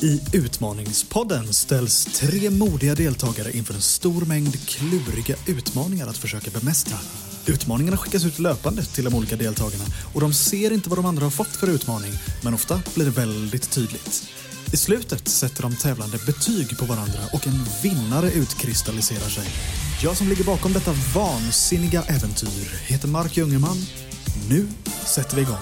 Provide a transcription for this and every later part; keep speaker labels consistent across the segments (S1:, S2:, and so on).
S1: I Utmaningspodden ställs tre modiga deltagare inför en stor mängd kluriga utmaningar att försöka bemästra. Utmaningarna skickas ut löpande till de olika deltagarna och de ser inte vad de andra har fått för utmaning, men ofta blir det väldigt tydligt. I slutet sätter de tävlande betyg på varandra och en vinnare utkristalliserar sig. Jag som ligger bakom detta vansinniga äventyr heter Mark Jungerman. Nu sätter vi igång.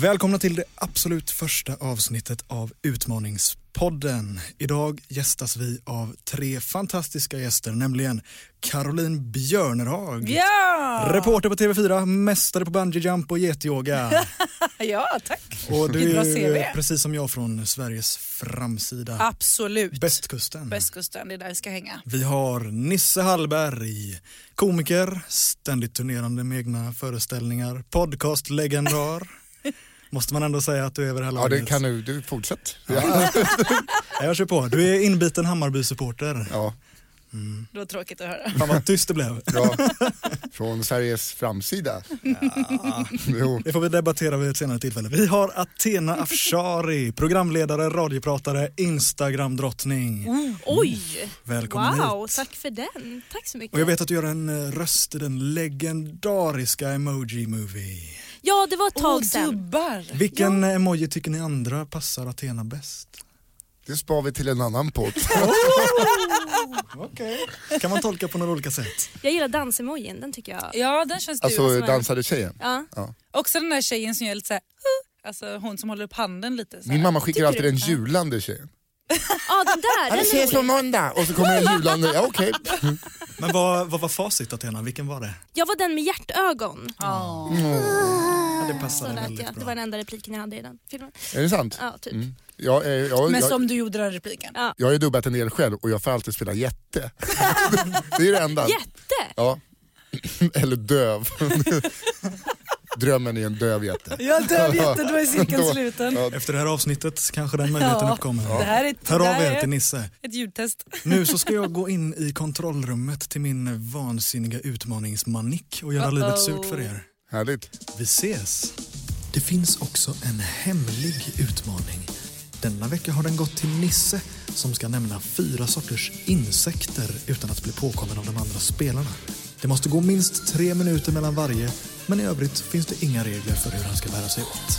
S1: Välkomna till det absolut första avsnittet av Utmaningspodden. Idag gästas vi av tre fantastiska gäster, nämligen Caroline Björnerhag.
S2: Ja!
S1: Reporter på TV4, mästare på bungee jump och getyoga.
S2: ja, tack.
S1: Och du
S2: Bra
S1: är ju
S2: CV.
S1: precis som jag från Sveriges framsida,
S2: Absolut.
S1: västkusten.
S2: Västkusten, det är där vi ska hänga.
S1: Vi har Nisse Hallberg, komiker, ständigt turnerande med egna föreställningar, podcastlegendar. Måste man ändå säga att du är över det här
S3: Ja, det
S1: laget.
S3: kan du. Du fortsätt. Ja.
S1: Ja, Jag kör på. Du är inbiten Hammarby-supporter.
S3: Ja,
S2: Det var tråkigt att höra.
S1: Fan vad tyst det blev.
S3: bra. Från Sveriges framsida. Jo,
S1: Det får vi debattera vid ett senare tillfälle. Vi har Athena Afshari, programledare, radiopratare, Instagram-drottning.
S4: Oj!
S1: Välkommen
S4: Wow,
S1: hit.
S4: tack för den. Tack så mycket.
S1: Och jag vet att du gör en eh, röst i den legendariska Emoji Movie.
S4: Ja, det var ett tag
S2: Och
S4: sedan.
S2: dubbar.
S1: Vilken eh, emoji tycker ni andra passar Athena bäst?
S3: det spar vi till en annan podd.
S1: Okej. Kan man tolka på några olika sätt?
S4: Jag gillar dansemojin, den tycker jag.
S2: Ja, den känns du.
S3: Alltså dansade tjejen.
S4: Ja.
S2: Också den där tjejen som gör lite så här, "Huh", alltså hon som håller upp handen lite så här.
S3: Min mamma skickar
S4: Tycker
S3: alltid
S4: du?
S3: den julande tjejen.
S4: ja, den där.
S3: Ja, vi
S4: Den
S3: ses på
S4: är rolig.
S3: måndag! Och så kommer en julande. Ja, okej.
S1: Men vad, vad var facit Athena? Vilken var det?
S4: Jag var den med hjärtögon.
S2: Ja. Ah,
S1: Ja, det passade
S4: Sådär, att
S1: väldigt
S4: jag, det var
S1: bra.
S4: den enda repliken jag hade i den filmen.
S3: Är det sant?
S4: Ja, typ.
S3: Mm. Jag, är, jag,
S2: Men
S3: jag,
S2: som du gjorde den repliken.
S4: Ja.
S3: jag har ju dubbat en del själv och jag får alltid spela jätte. Det är det enda.
S4: Jätte!
S3: Ja. Eller döv. Drömmen är en döv jätte.
S2: Ja, döv jätte, då är cirkeln
S3: Då-
S2: sluten.
S3: Ja.
S1: Efter det här avsnittet kanske den möjligheten
S2: Ja.
S1: uppkommer.
S2: Det här är ett,
S1: Hör
S2: det
S1: av
S2: här
S1: er till
S2: är
S1: Nisse.
S2: ett ljudtest.
S1: Nu så ska jag gå in i kontrollrummet till min vansinniga utmaningsmanik och göra
S2: Uh-oh.
S1: livet surt för er.
S3: Härligt.
S1: Vi ses! Det finns också en hemlig utmaning. Denna vecka har den gått till Nisse som ska nämna fyra sorters insekter utan att bli påkommen av de andra spelarna. Det måste gå minst tre minuter mellan varje men i övrigt finns det inga regler för hur han ska bära sig åt.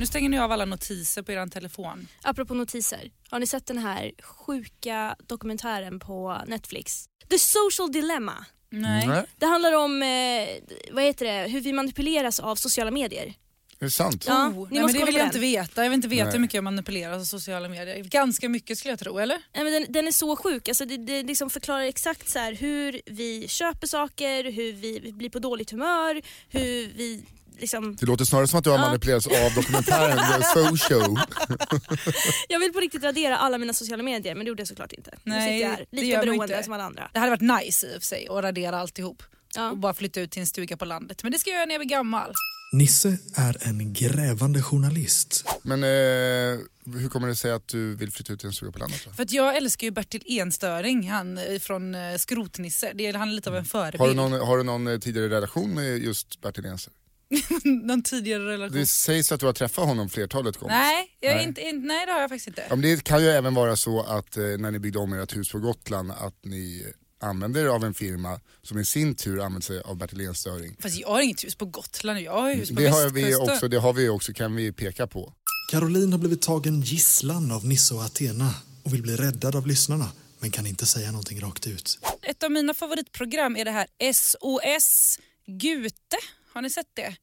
S2: Nu stänger ni av alla notiser på er telefon.
S4: Apropå notiser. Har ni sett den här sjuka dokumentären på Netflix? The Social Dilemma.
S2: Nej.
S3: Nej,
S4: Det handlar om eh, vad heter det, hur vi manipuleras av sociala medier.
S3: Är det sant?
S4: Ja, ni
S2: oh, nej, men
S4: måste
S2: det
S4: kolla
S2: vill
S4: på
S2: jag
S4: den.
S2: inte veta. Jag vill inte veta
S3: Nej.
S2: hur mycket jag manipuleras av sociala medier. Ganska mycket skulle jag tro, eller?
S4: Nej, men den, den är så sjuk. Alltså, det det liksom förklarar exakt så här, hur vi köper saker, hur vi blir på dåligt humör, hur vi liksom...
S3: Det låter snarare som att du har
S4: Ja.
S3: manipulerats av dokumentären The Social.
S4: Jag vill på riktigt radera alla mina sociala medier men det gjorde jag såklart inte.
S2: Nej,
S4: nu sitter jag här,
S2: det gör
S4: lika
S2: man
S4: beroende
S2: inte.
S4: som alla andra.
S2: Det hade varit nice i och för sig att radera alltihop och
S4: Ja.
S2: bara flytta ut till en stuga på landet. Men det ska jag göra när jag blir gammal.
S1: Nisse är en grävande journalist.
S3: Men eh, hur kommer det sig att du vill flytta ut till en stuga på landet? Då?
S2: För att jag älskar ju Bertil Enstöring, han eh, från eh, Skrotnisse. Det är, han är lite av en förebild.
S3: Mm. Har du, någon, har du någon eh, tidigare relation med just Bertil Jensen?
S2: Någon tidigare relation?
S3: Det sägs att du har träffat honom flertalet gånger.
S2: Nej, jag är
S3: Nej.
S2: Inte, inte, nej, det har jag faktiskt inte.
S3: Ja, men det kan ju även vara så att eh, när ni byggde om ert hus på Gotland att ni använder er av en firma som i sin tur använder sig av Bertil Enstöring.
S2: Fast jag har inget hus på Gotland, jag har hus på
S3: Det har,
S2: västkusten.
S3: vi också, det har vi också, kan vi peka på.
S1: Caroline har blivit tagen gisslan av Nisse och Athena och vill bli räddad av lyssnarna men kan inte säga någonting rakt ut.
S2: Ett av mina favoritprogram är det här SOS Gute. Har ni sett
S4: Typ
S2: det?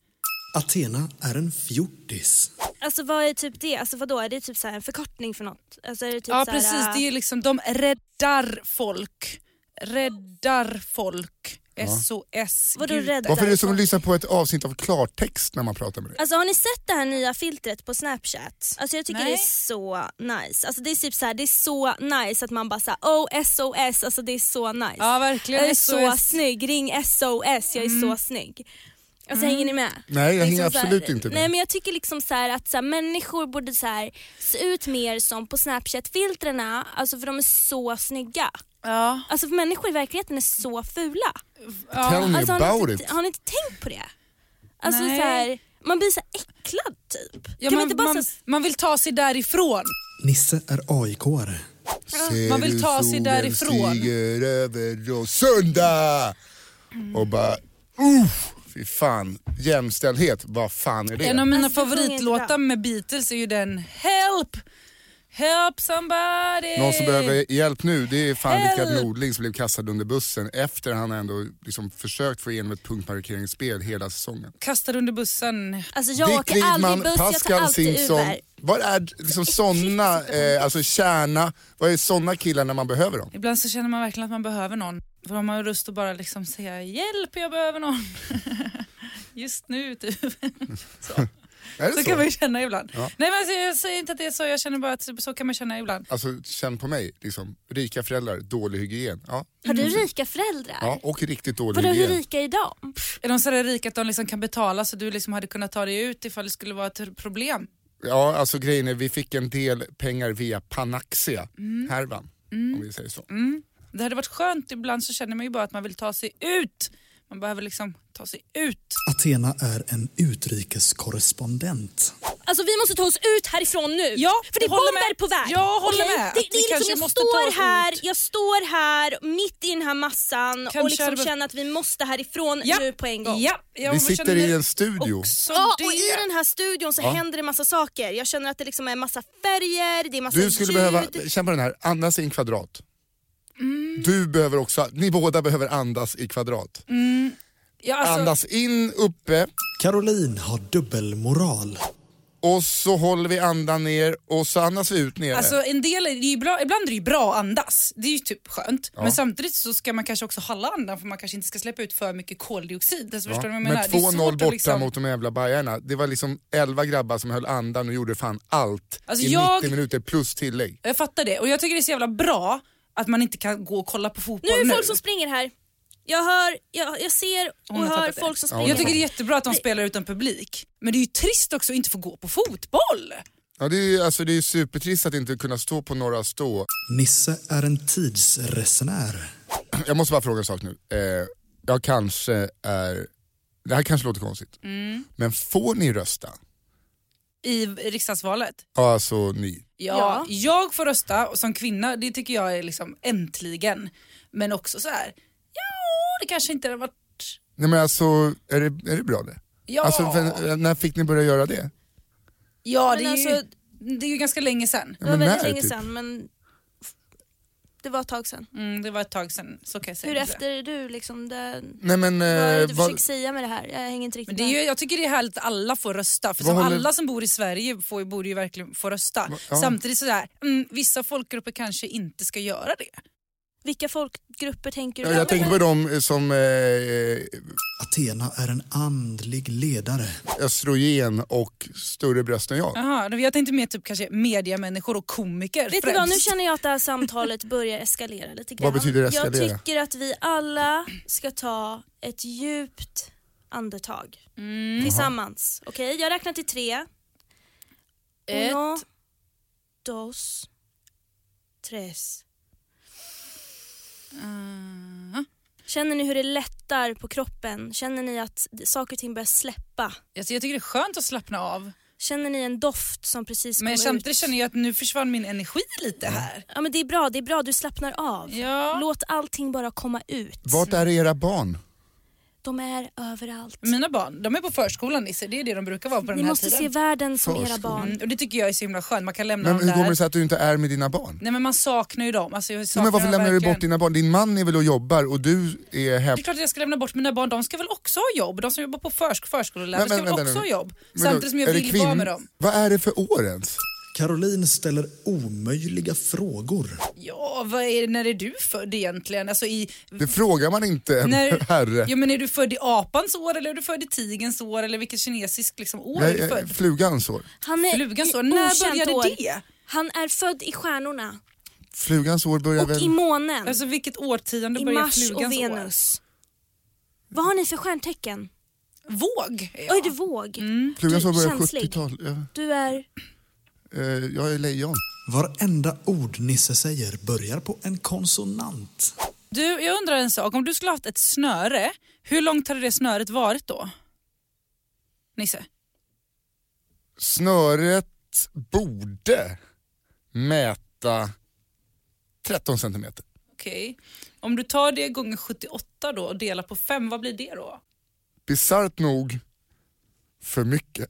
S1: Athena är en fjortis.
S4: Alltså vad är typ det? Alltså vadå? Är det typ så här en förkortning för något? Alltså, är det typ
S2: ja,
S4: så här,
S2: precis. Det är ju liksom, de räddar folk. Räddar folk. SOS
S4: Vadå
S2: Gute.
S4: räddar?
S3: Varför är det som att lyssna på ett avsnitt av klartext när man pratar med dig?
S4: Alltså har ni sett det här nya filtret på snapchat? Alltså jag tycker
S2: Nej.
S4: det är så nice. Alltså det är typ så här, det är så nice att man bara såhär oh SOS, alltså det är så nice.
S2: Ja, verkligen.
S4: Jag är så
S2: SOS.
S4: snygg, ring SOS, jag är
S2: Mm.
S4: så snygg. Alltså hänger ni med?
S3: Nej, jag hänger
S4: Liksom så här-
S3: absolut inte med.
S4: Nej men jag tycker liksom så här att så här, människor borde så här, se ut mer som på snapchat-filtrerna, alltså för de är så snygga.
S2: Ja.
S4: Alltså för människor i verligheten är så fula.
S3: Tell me
S4: Alltså, har,
S3: about
S4: ni
S3: it.
S4: inte, har ni inte tänkt på det? Alltså
S2: Nej.
S4: så här, man blir så här äcklad typ.
S2: Ja,
S4: kan man
S2: man,
S4: inte bara
S2: man,
S4: så här,
S2: man vill ta sig därifrån.
S1: Nisse är AIK-are.
S3: Ser
S2: Man vill
S3: du
S2: ta sig
S3: solen
S2: därifrån.
S3: stiger över Råsunda. Och bara, uff, fy fan. Jämställdhet, vad fan är det?
S2: En av mina
S4: Alltså, det sjunger inte
S2: favoritlåtar
S4: bra.
S2: med Beatles är ju den Help! Help somebody!
S3: Någon som behöver hjälp nu det är fan
S2: Help!
S3: Rickard Nordling som blev kastad under bussen efter han ändå liksom försökt få igenom ett punktmarkeringsspel hela säsongen.
S2: Kastar under bussen.
S4: alltså jag åker aldrig buss, jag tar alltid Uber.
S3: Var är liksom såna, eh, alltså kärna, vad är såna killar när man behöver dem?
S2: Ibland så känner man verkligen att man behöver någon. För man har lust att bara liksom säga hjälp, jag behöver någon. Just nu typ.
S3: Är det
S2: Så
S3: så?
S2: kan man ju känna ibland.
S3: Ja.
S2: Nej men alltså, jag säger inte att det är så, jag känner bara att så kan man känna ibland.
S3: Alltså känn på mig, liksom, rika föräldrar, dålig hygien. Ja,
S4: Har
S2: Mm.
S4: du rika föräldrar?
S3: ja och riktigt dålig
S4: Vadå hur
S3: hygien.
S4: rika är de?
S2: Är de så där rika att de liksom kan betala så du liksom hade kunnat ta dig ut ifall det skulle vara ett problem?
S3: Ja, alltså grejen är vi fick en del pengar via Panaxia,
S2: Mm.
S3: härvan. Om vi säger så.
S2: Det hade varit skönt, ibland så känner man ju bara att man vill ta sig ut. Man behöver liksom ta sig ut.
S1: Athena är en utrikeskorrespondent.
S4: Alltså vi måste ta oss ut härifrån nu.
S2: Ja,
S4: för det
S2: jag
S4: är
S2: håller
S4: bomber
S2: med.
S4: på väg.
S2: Jag håller
S4: Okej?
S2: med.
S4: Det,
S2: Vi
S4: det är
S2: kanske
S4: liksom, jag
S2: måste ta oss
S4: står här,
S2: ut.
S4: jag står här mitt i den här massan
S2: Kanske
S4: och liksom
S2: hade vi-
S4: känner att vi måste härifrån
S2: Ja.
S4: nu på en gång.
S2: Ja, jag
S3: Vi sitter
S2: känner
S3: i en studio.
S2: också
S4: Ja,
S2: det.
S4: och i den här studion så händer det massa saker. Jag känner att det liksom är massa färger, det är massa
S3: Du skulle
S4: ljud.
S3: behöva, känn på den här, andas i en kvadrat.
S2: Mm.
S3: Du behöver också, ni båda behöver andas i kvadrat.
S2: ja, Mm. alltså,
S3: Andas in uppe
S1: Caroline har dubbelmoral.
S3: och så håller vi andan ner och så andas vi ut nere.
S2: Alltså en del, är det är ju bra, ibland är det ju bra att andas, det är ju typ skönt. Men samtidigt så ska man kanske också hålla andan för man kanske inte ska släppa ut för mycket koldioxid. Alltså,
S3: Ja,
S2: förstår du vad jag
S3: men
S2: menar? Det är
S3: 2-0
S2: svårt att
S3: borta
S2: liksom-
S3: mot de jävla Bajarna. Det var liksom 11 grabbar som höll andan och gjorde fan allt
S2: Alltså,
S3: i
S2: jag-
S3: 90 minuter plus tillägg.
S2: Jag fattar det och jag tycker det är så jävla bra att man inte kan gå och kolla på fotboll
S4: Nu
S2: nu.
S4: är det folk som springer här. Jag hör, jag, jag ser och
S2: Hon har
S4: hör
S2: tappat det.
S4: folk som
S3: Ja, hon
S4: springer.
S2: Jag tycker det är jättebra att de spelar utan publik, men det är ju trist också att inte få gå på fotboll.
S3: Ja, det är ju alltså, det är ju supertrist att inte kunna stå på några stå.
S1: Nisse är en tidsresenär.
S3: Jag måste bara fråga en sak nu. Eh, jag kanske är, det här kanske låter konstigt,
S2: Mm.
S3: men får ni rösta?
S2: I riksdagsvalet.
S3: Ja, alltså ni.
S2: Ja,
S4: Ja.
S2: jag får rösta och som kvinna, det tycker jag är liksom äntligen. Men också så här, ja det kanske inte har varit,
S3: Nej men alltså, är det, är det bra det?
S2: ja,
S3: Alltså, v- när fick ni börja göra det?
S2: ja det, är
S4: Men
S2: ju,
S4: alltså-
S2: det är ju ganska länge sedan.
S4: Det var
S3: Men
S4: väldigt
S3: när,
S4: länge
S3: typ?
S4: sedan men det var ett tag sedan.
S2: Mm, det var ett tag sedan, så kan jag säga.
S4: Hur efter är du liksom? Det,
S3: Nej men,
S4: vad är det
S3: eh,
S4: du
S3: vad,
S4: försöker säga med det här? Jag hänger inte riktigt
S2: Men det är ju, jag tycker det är härligt att alla får rösta, för
S3: Vad
S2: som
S3: håller-
S2: alla som bor i Sverige får, borde ju verkligen få rösta.
S3: ja.
S2: Samtidigt sådär, mm, vissa folkgrupper kanske inte ska göra det.
S4: Vilka folkgrupper tänker du
S3: jag, jag tänker på de som eh,
S1: Athena är en andlig ledare.
S3: östrogen och större bröst än jag.
S2: Jaha, jag tänkte mer typ kanske mediamänniskor och komiker
S4: Vet du
S2: främst.
S4: vad, nu känner jag att det här samtalet börjar eskalera lite grann.
S3: Vad betyder eskalera?
S4: Jag tycker att vi alla ska ta ett djupt
S2: Mm.
S4: andetag tillsammans. Okej, jag räknar till tre.
S2: Ett.
S4: Uno, dos, tres.
S2: Ah,
S4: Känner ni hur det lättar på kroppen? Känner ni att saker och ting börjar släppa?
S2: alltså jag tycker det är skönt att slappna av.
S4: Känner ni en doft som precis
S2: Men
S4: kom ut?
S2: samtidigt känner jag att nu försvann min energi lite här.
S4: Ja men det är bra, det är bra. Du slappnar av.
S2: Ja.
S4: Låt allting bara komma ut.
S3: Vart är era barn?
S4: De är överallt.
S2: Mina barn, de är på förskolan Nisse, det är det de brukar vara på
S4: Ni
S2: den här
S4: måste se
S2: tiden.
S4: världen som era
S3: Förskolan.
S4: barn.
S2: Mm, och det tycker jag är så himla skönt, man kan lämna
S3: Men
S2: dem
S3: hur
S2: där.
S3: kommer det sig att du inte är med dina barn?
S2: Nej men man saknar ju dem. Alltså, jag saknar
S3: Nej, men varför
S2: dem
S3: lämnar du
S2: verkligen.
S3: bort dina barn? Din man är väl och jobbar och du är hemma.
S2: Det är klart att jag ska lämna bort mina barn, de ska väl också ha jobb? De som jobbar på försk förskolelärare
S3: Men- men
S2: ska väl
S3: vänta
S2: också
S3: nu.
S2: ha jobb?
S3: Men
S2: Samtidigt som jag
S3: är det
S2: vill
S3: kvinn-
S2: vara med dem.
S3: Vad är det för år ens?
S1: Caroline ställer omöjliga frågor.
S2: Ja, vad är, när är du född egentligen? Alltså i,
S3: Det frågar man inte en
S2: när,
S3: herre.
S2: Ja, men är du född i apans år eller är du född i tigerns år eller vilket kinesiskt liksom, år är
S3: Nej,
S2: du
S3: eh,
S2: född?
S3: flugans år.
S4: Han är
S2: Flugans
S4: i
S2: år, när
S4: okänt
S2: började
S4: år.
S2: det?
S4: Han är född i stjärnorna
S3: Flugans år börjar
S4: och
S3: väl...
S4: i månen,
S2: Alltså vilket årtionde
S4: i
S2: börjar
S4: Mars och
S2: flugans år?
S4: Venus. Vad har ni för stjärntecken?
S2: Våg är jag.
S4: Oj, du våg.
S2: Mm.
S3: Flugans
S4: Du,
S3: år börjar
S4: känslig.
S3: 70-tal. Ja,
S4: Du är...
S3: eh, jag är lejon.
S1: Varenda ord Nisse säger börjar på en konsonant.
S2: Du, jag undrar en sak. Om du skulle haft ett snöre, hur långt hade det snöret varit då? Nisse?
S3: Snöret borde mäta 13 centimeter.
S2: Okej. Om du tar det gånger 78 då och delar på 5, vad blir det då?
S3: Bisarrt nog för mycket.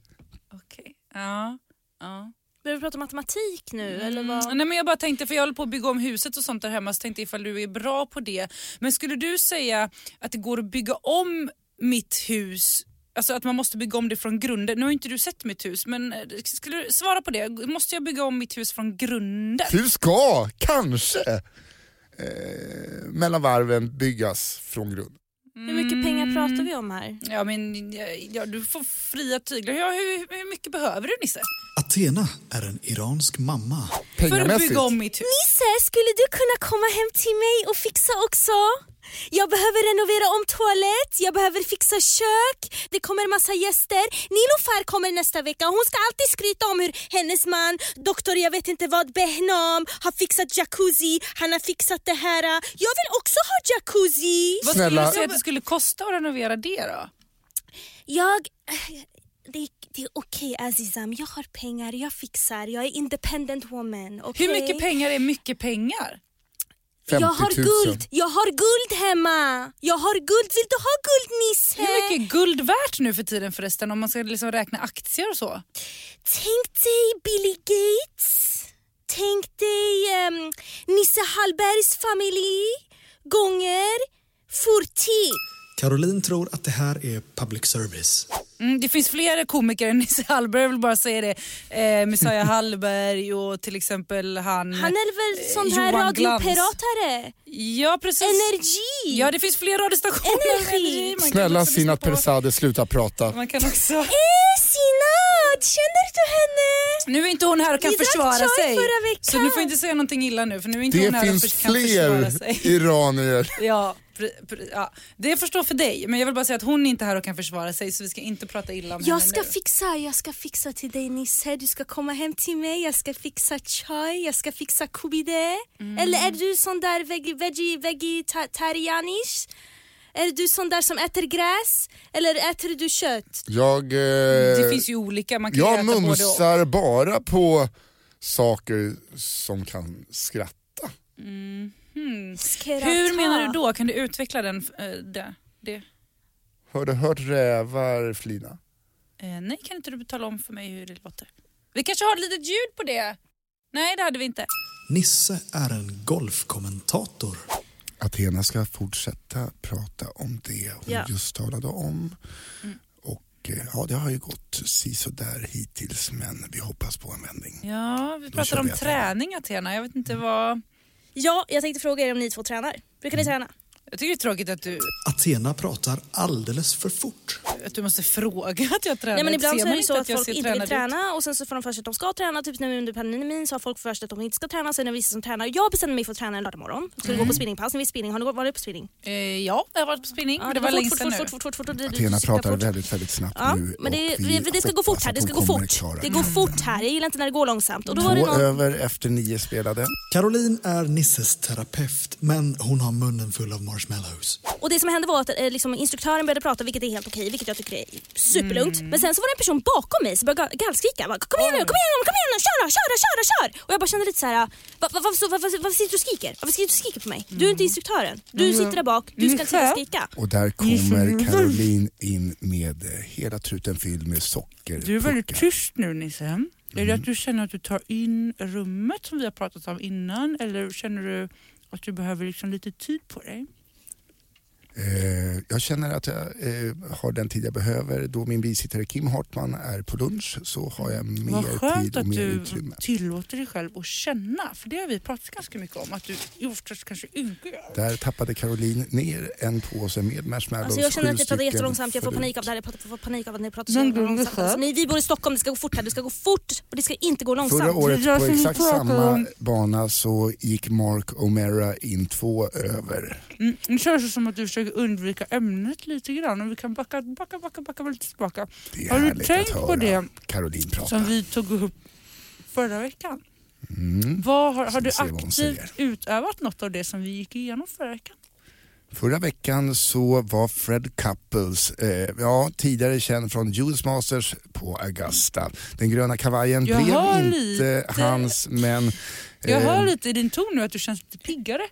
S2: Okej. Ja. ja.
S4: Behöver vi prata matematik nu eller
S2: Mm,
S4: vad?
S2: nej men jag bara tänkte, för jag håller på att bygga om huset och sånt där hemma, så tänkte jag ifall du är bra på det. Men skulle du säga att det går att bygga om mitt hus, alltså att man måste bygga om det från grunden? Nu har ju inte du sett mitt hus, men eh, skulle du svara på det? Måste jag bygga om mitt hus från grunden?
S3: Du ska kanske eh, mellan varven byggas från grund.
S2: Mm.
S4: Hur mycket pengar pratar vi om här?
S2: Ja men ja, ja, du får fria tyglar. Ja, hur, hur mycket behöver du Nisse?
S1: Athena är en iransk mamma.
S2: För att
S3: Pengamässigt.
S2: bygga om mitt hus?
S4: Nisse, skulle du kunna komma hem till mig och fixa också? Jag behöver renovera om toalett, jag behöver fixa kök, det kommer massa gäster. Nilofar kommer nästa vecka hon ska alltid skryta om hur hennes man, doktor jag vet inte vad, Behnam har fixat jacuzzi, han har fixat det här. Jag vill också ha jacuzzi.
S2: Vad skulle
S3: Snälla.
S2: du säga att det skulle kosta att renovera det då?
S4: Jag... Det, det är okej Azizam, jag har pengar, jag fixar, jag är independent woman.
S2: Hur
S4: okej?
S2: mycket pengar är mycket pengar?
S3: 50
S4: Jag
S3: 000.
S4: har guld, jag har guld hemma! Jag har guld, vill du ha guld Nisse?
S2: Hur mycket är guld värt nu för tiden förresten om man ska liksom räkna aktier och så?
S4: Tänk dig Billy Gates, tänk dig ehm, Nisse Hallbergs familj gånger 40.
S1: Caroline tror att det här är public service.
S2: Mm, det finns fler komiker än Nisse Hallberg, jag vill bara säga det. Eh, Messiah Hallberg och till exempel han...
S4: Han är väl
S2: eh,
S4: sån här
S2: Johan Glans.
S4: radiopiratare?
S2: Ja precis.
S4: Energi!
S2: Ja det finns fler radiostationer. än
S4: Energi.
S2: Energi. Man kan
S3: Snälla
S2: också lyssna
S3: Sinat
S2: på-
S3: Persade, sluta prata.
S2: Man kan också...
S4: Eh, Sinad, känner du henne?
S2: Nu är inte hon här och kan
S4: Vi drack
S2: försvara
S4: chai
S2: sig.
S4: förra veckan.
S2: Så nu får inte säga någonting illa nu för nu är inte hon
S3: Det
S2: här och
S3: finns
S2: för, kan försvara
S3: fler
S2: sig.
S3: iranier.
S2: Ja, pre- pre- ja, det förstår för dig. Men jag vill bara säga att hon är inte här och kan försvara sig så vi ska inte prata illa om
S4: Jag
S2: henne
S4: ska
S2: nu.
S4: fixa, jag ska fixa till dig Nisse. Du ska komma hem till mig, jag ska fixa chai, jag ska fixa kubide.
S2: Mm.
S4: Eller är du sån där veg- veggie, vegetarianish? Är du sån där som äter gräs? Eller äter du kött?
S3: Jag, eh,
S2: Det finns ju olika, man kan
S3: jag
S2: ju äta både och.
S3: mumsar bara på saker som kan skratta.
S4: Skrata.
S2: Mm. Hur menar du då? Kan du utveckla den? eh, det? det?
S3: Har du hört rävar flina?
S2: Eh, nej, kan inte du tala om för mig hur det låter? Vi kanske har ett litet ljud på det? Nej, det hade vi inte.
S1: Nisse är en golfkommentator.
S3: Athena ska fortsätta prata om det hon
S4: Ja. Mm.
S3: just talade om. Och eh, ja, det har ju gått sisådär hittills men vi hoppas på en vändning.
S2: Ja, vi
S3: kör
S2: pratar
S3: vi
S2: om
S3: Athena.
S2: träning, Athena. Jag vet inte vad...
S4: Ja, jag tänkte fråga er om ni två tränar. Brukar
S2: Mm.
S4: ni träna?
S2: Jag tycker det är tråkigt att du,
S1: Athena pratar alldeles för fort.
S2: att du måste fråga att jag tränar.
S4: Nej men ibland
S2: Ser
S4: så är
S2: man
S4: det ju så
S2: inte
S4: att
S2: jag
S4: folk
S2: ser
S4: inte vill
S2: tränad ut?
S4: träna och sen så får de för sig att de ska träna. Typ nu under pandemin så har folk för sig att de inte ska träna. Sen är det vissa som tränar. Jag bestämde mig för att träna en lördag morgon. Skulle
S2: Mm.
S4: gå på spinningpass. Ni vet spinning. Har ni gått- varit på spinning?
S2: Eh, ja, jag har varit på spinning,
S4: Ja,
S2: men det var
S4: fort,
S2: länge
S4: fort,
S2: sedan nu.
S4: fort, fort, fort, fort, fort, du- du- du
S3: Athena
S4: cyklar
S3: pratar
S4: fort.
S3: väldigt, väldigt snabbt
S4: Ja,
S3: nu.
S4: men det,
S3: och vi
S4: vi, det ska gå fort
S3: hoppas
S4: här.
S3: att
S4: Det ska gå
S3: hon kommer Mm.
S4: fort.
S3: klara
S4: Det
S3: det.
S2: Mm.
S4: går fort här. Jag gillar inte när det går långsamt. Och då var det
S3: Två
S4: någon...
S3: över efter nio spelade.
S1: Caroline är Nisses terapeut, men hon har munnen full av marshmallows.
S4: Och det som hände var att eh, liksom, instruktören började prata, vilket är helt okej, vilket jag tycker är superlugnt.
S2: Mm.
S4: Men sen så var det en person bakom mig som började ga- gallskrika. Bara, Kom igen nu, kom igen nu, kom igen nu, kör då, kör då, kör då, kör! Och jag bara kände lite så här, va, va, varför, så- varför, varför sitter du och skriker? Varför sitter du och skriker på mig? Du är
S2: Mm.
S4: inte instruktören. Du sitter där bak, du ska inte sitta och skrika.
S3: Och där kommer Caroline in med eh, hela truten fylld med socker.
S2: Du är väldigt tyst nu Nisse. Är
S3: Mm.
S2: det att du känner att du tar in rummet som vi har pratat om innan eller känner du att du behöver liksom lite tid på dig?
S3: Eh, jag känner att jag eh, har den tid jag behöver. Då min bisittare Kim Hartman är på lunch så har jag
S2: Vad
S3: mer
S2: skönt
S3: tid och
S2: att
S3: mer
S2: du
S3: utrymme.
S2: tillåter dig själv att känna, för det har vi pratat ganska mycket om, att du oftast kanske inte gör.
S3: Där tappade Caroline ner en påse med marshmallows.
S4: Alltså jag känner
S3: sju
S4: att jag pratar
S3: stycken
S4: jättelångsamt, jag får
S3: förut.
S4: panik av det här. Jag pratar- får panik av att ni pratar så
S2: Men
S4: jävla
S2: gud, vad
S4: långsamt.
S2: skönt.
S4: Alltså, ni, vi bor i Stockholm, det ska gå fort här. Det ska gå fort och det ska inte gå långsamt.
S3: Förra året
S2: Jag
S3: på
S2: som
S3: exakt
S2: pratar
S3: samma
S2: om-
S3: bana så gick Mark O'Mara in två över.
S2: Mm, nu känns det som att du försöker undvika ämnet lite grann och vi kan backa, backa, backa, backa lite tillbaka.
S3: Det är
S2: Har du
S3: härligt
S2: tänkt
S3: att
S2: på
S3: höra
S2: det
S3: Caroline prata.
S2: som vi tog upp förra veckan?
S3: Mm.
S2: Vad har, har
S3: Ska
S2: du
S3: vi se vad hon
S2: aktivt
S3: säger.
S2: utövat något av det som vi gick igenom förra veckan?
S3: Förra veckan så var Fred Couples, eh, ja tidigare känd från US Masters på Augusta. Den gröna kavajen
S2: Jag hör
S3: blev inte
S2: lite-
S3: hans men
S2: Jag
S3: eh,
S2: hör lite i din ton nu att du känns lite piggare.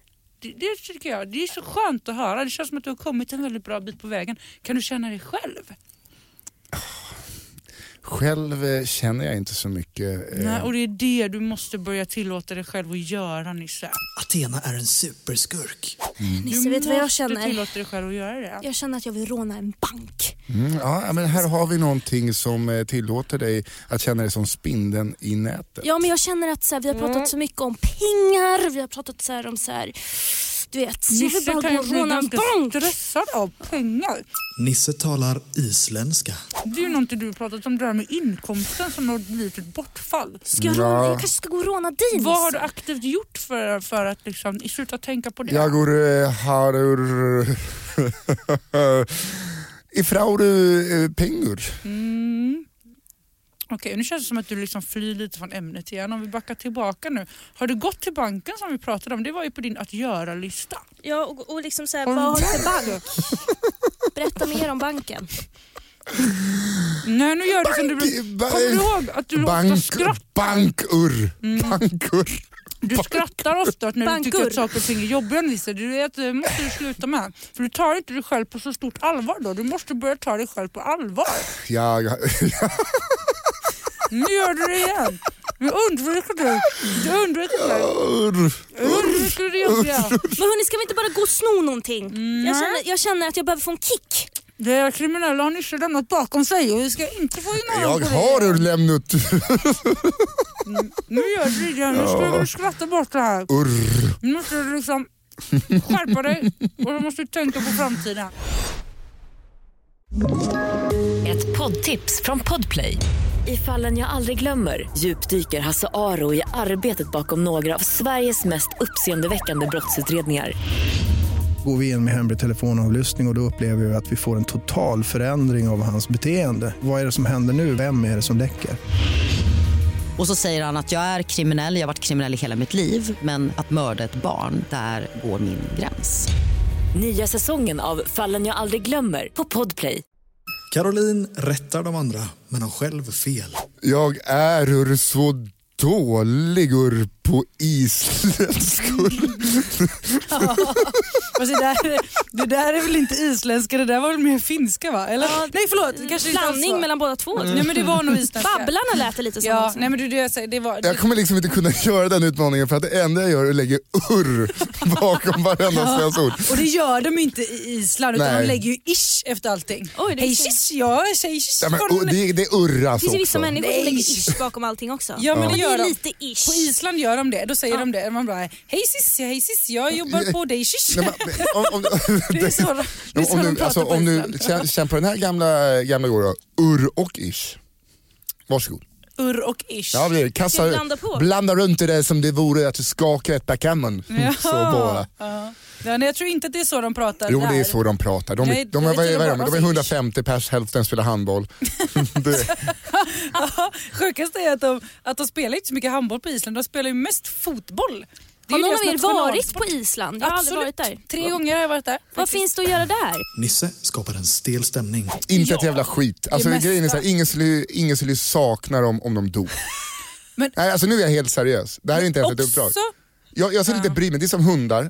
S2: Det, det tycker jag. Det är så skönt att höra. Det känns som att du har kommit en väldigt bra bit på vägen. Kan du känna det själv?
S3: själv eh, känner jag inte så mycket. eh,
S2: Nej, och det är det du måste börja tillåta dig själv att göra Nisse.
S1: Athena är en superskurk.
S4: Nisse,
S2: du
S4: vet du vad jag
S2: måste
S4: känner?
S2: tillåta dig själv att göra det.
S4: Jag känner att jag vill råna en bank.
S3: Mm, ja, men här har vi någonting som eh, tillåter dig att känna dig som spindeln i nätet.
S4: Ja men jag känner att så här, vi har pratat så mycket om pengar, vi har pratat så här, om så här, du vet, jag vill
S2: Nisse
S4: bara
S2: kan
S4: gå
S2: ju
S4: och
S2: bli
S4: råna en
S2: ganska
S4: bank.
S2: stressad av pengar.
S1: Nisse talar isländska.
S2: Det är ju någonting du har pratat om, det här med inkomsten som något litet bortfall.
S4: Ska jag,
S3: Ja.
S4: råna, jag kanske ska gå och råna dig Nisse.
S2: Vad har du aktivt gjort för, för att liksom, sluta tänka på det?
S3: Jag går eh, harur... Ifrauru eh, pengur.
S2: Mm. Okej, nu känns det som att du liksom flyr lite från ämnet igen. Om vi backar tillbaka nu. Har du gått till banken som vi pratade om? Det var ju på din att göra-lista.
S4: Ja och, och liksom så här,
S2: Har
S4: vad
S2: du-
S4: har du för bank? Berätta mer om banken.
S2: Nej, nu gör du som du brukar.
S3: Bank- ba-
S2: Kommer du ihåg att du ofta
S3: Bank,
S2: skrattar?
S3: bankur.
S2: Mm.
S3: Bankur.
S2: Du skrattar ofta åt när du tycker
S4: Bankur.
S2: att saker och ting är jobbiga Nisse. Du vet, det måste du sluta med. För du tar inte dig själv på så stort allvar då. Du måste börja ta dig själv på allvar.
S3: Jag,
S2: Nu gör du det igen. Nu undviker du. Du undviker det. Undviker det jobbiga.
S4: Men hörni ska vi inte bara gå och sno någonting? Jag, känner, jag känner att jag behöver få en kick.
S2: Det kriminella har Nisse lämnat bakom sig och vi ska inte få in honom
S3: jag
S2: på det.
S3: har lämnat
S2: Nu gör du det igen. Nu ska du skratta bort det här.
S3: urr.
S2: Nu måste du liksom skärpa dig och du måste tänka på framtiden.
S5: Ett poddtips från Podplay. I fallen jag aldrig glömmer djupdyker Hasse Aro i arbetet bakom några av Sveriges mest uppseendeväckande brottsutredningar.
S6: går vi in med hemlig telefonavlyssning och, och då upplever vi att vi får en total förändring av hans beteende. Vad är det som händer nu? Vem är det som läcker?
S7: Och så säger han att jag är kriminell, jag har varit kriminell i hela mitt liv men att mörda ett barn, där går min gräns.
S5: Nya säsongen av Fallen jag aldrig glömmer på Podplay.
S1: Caroline rättar de andra, men har själv fel.
S3: Jag är ur så dålig urr på isländskor.
S2: Alltså det, där, det där är väl inte isländska, det där var väl mer finska va? Eller? nej förlåt, det kanske Mm. inte alls var.
S4: Blandning mellan båda två.
S2: Nej men det var nog isländska.
S4: Babblarna lät det lite
S2: Alltså,
S4: som
S2: Ja,
S4: också.
S2: nej men det, det, det, det var...
S3: Jag kommer liksom inte kunna göra den utmaningen för att det enda jag gör är att lägga urr bakom varenda svensk
S2: Och det gör de ju inte i Island utan
S3: Nej.
S2: de lägger ju ish efter allting.
S4: Oj, det är
S2: Hej
S4: synd.
S2: shish, jag säger shish.
S3: Ja, men,
S2: från-
S3: och det, det urras
S4: Det finns ju
S3: också.
S4: vissa människor som
S2: Nej.
S4: lägger ish bakom allting också.
S2: Ja, men det
S4: Och
S2: gör
S4: det är
S2: de.
S4: lite ish.
S2: På Island gör de det, då säger de det. Man bara hej sis, hej sis, jag jobbar på dig shish.
S3: Nej, men, om, om,
S2: Det är så, det är så
S3: om
S2: de
S3: du,
S2: pratar
S3: alltså,
S2: på
S3: om du
S2: Island.
S3: känn, känn på den här gamla, gamla gården, urr och ish. Varsågod.
S2: Urr och ish.
S3: Ja, det är,
S4: Ska
S3: kassa,
S4: jag blanda på?
S3: blanda runt i det som det vore att du skakar ett backgammon. Så bara.
S2: Ja. Ja, nej, jag tror inte att det är så de pratar
S3: Jo
S2: där.
S3: det är så de pratar. De,
S2: Nej,
S3: är- de, är-
S2: jag
S3: vad är-
S2: tror
S3: vad är
S2: de
S3: de, de är
S2: bara-
S3: 150 pers, hälften spelar handboll. det,
S2: Sjukast är att de, att de spelar inte så mycket handboll på Island, de spelar ju mest fotboll. Det
S4: Har
S2: ju
S4: någon
S2: deras
S4: av er
S2: national-
S4: varit på Island? Jag har aldrig varit
S2: Absolut.
S4: där.
S2: Tre gånger har jag varit där.
S4: Vad
S2: faktiskt.
S4: finns det att göra där?
S1: Nisse skapar en stel stämning.
S3: inte
S2: Ja.
S3: ett jävla skit. Alltså,
S2: Det
S3: grejen är så
S2: mesta.
S3: här, ingen, skulle, ingen skulle sakna dem om de dog.
S2: Men-
S3: Nej, alltså, nu är jag helt seriös. Det här är inte ens ett uppdrag.
S2: Också,
S3: Jag, jag skulle inte bry mig, det är som hundar.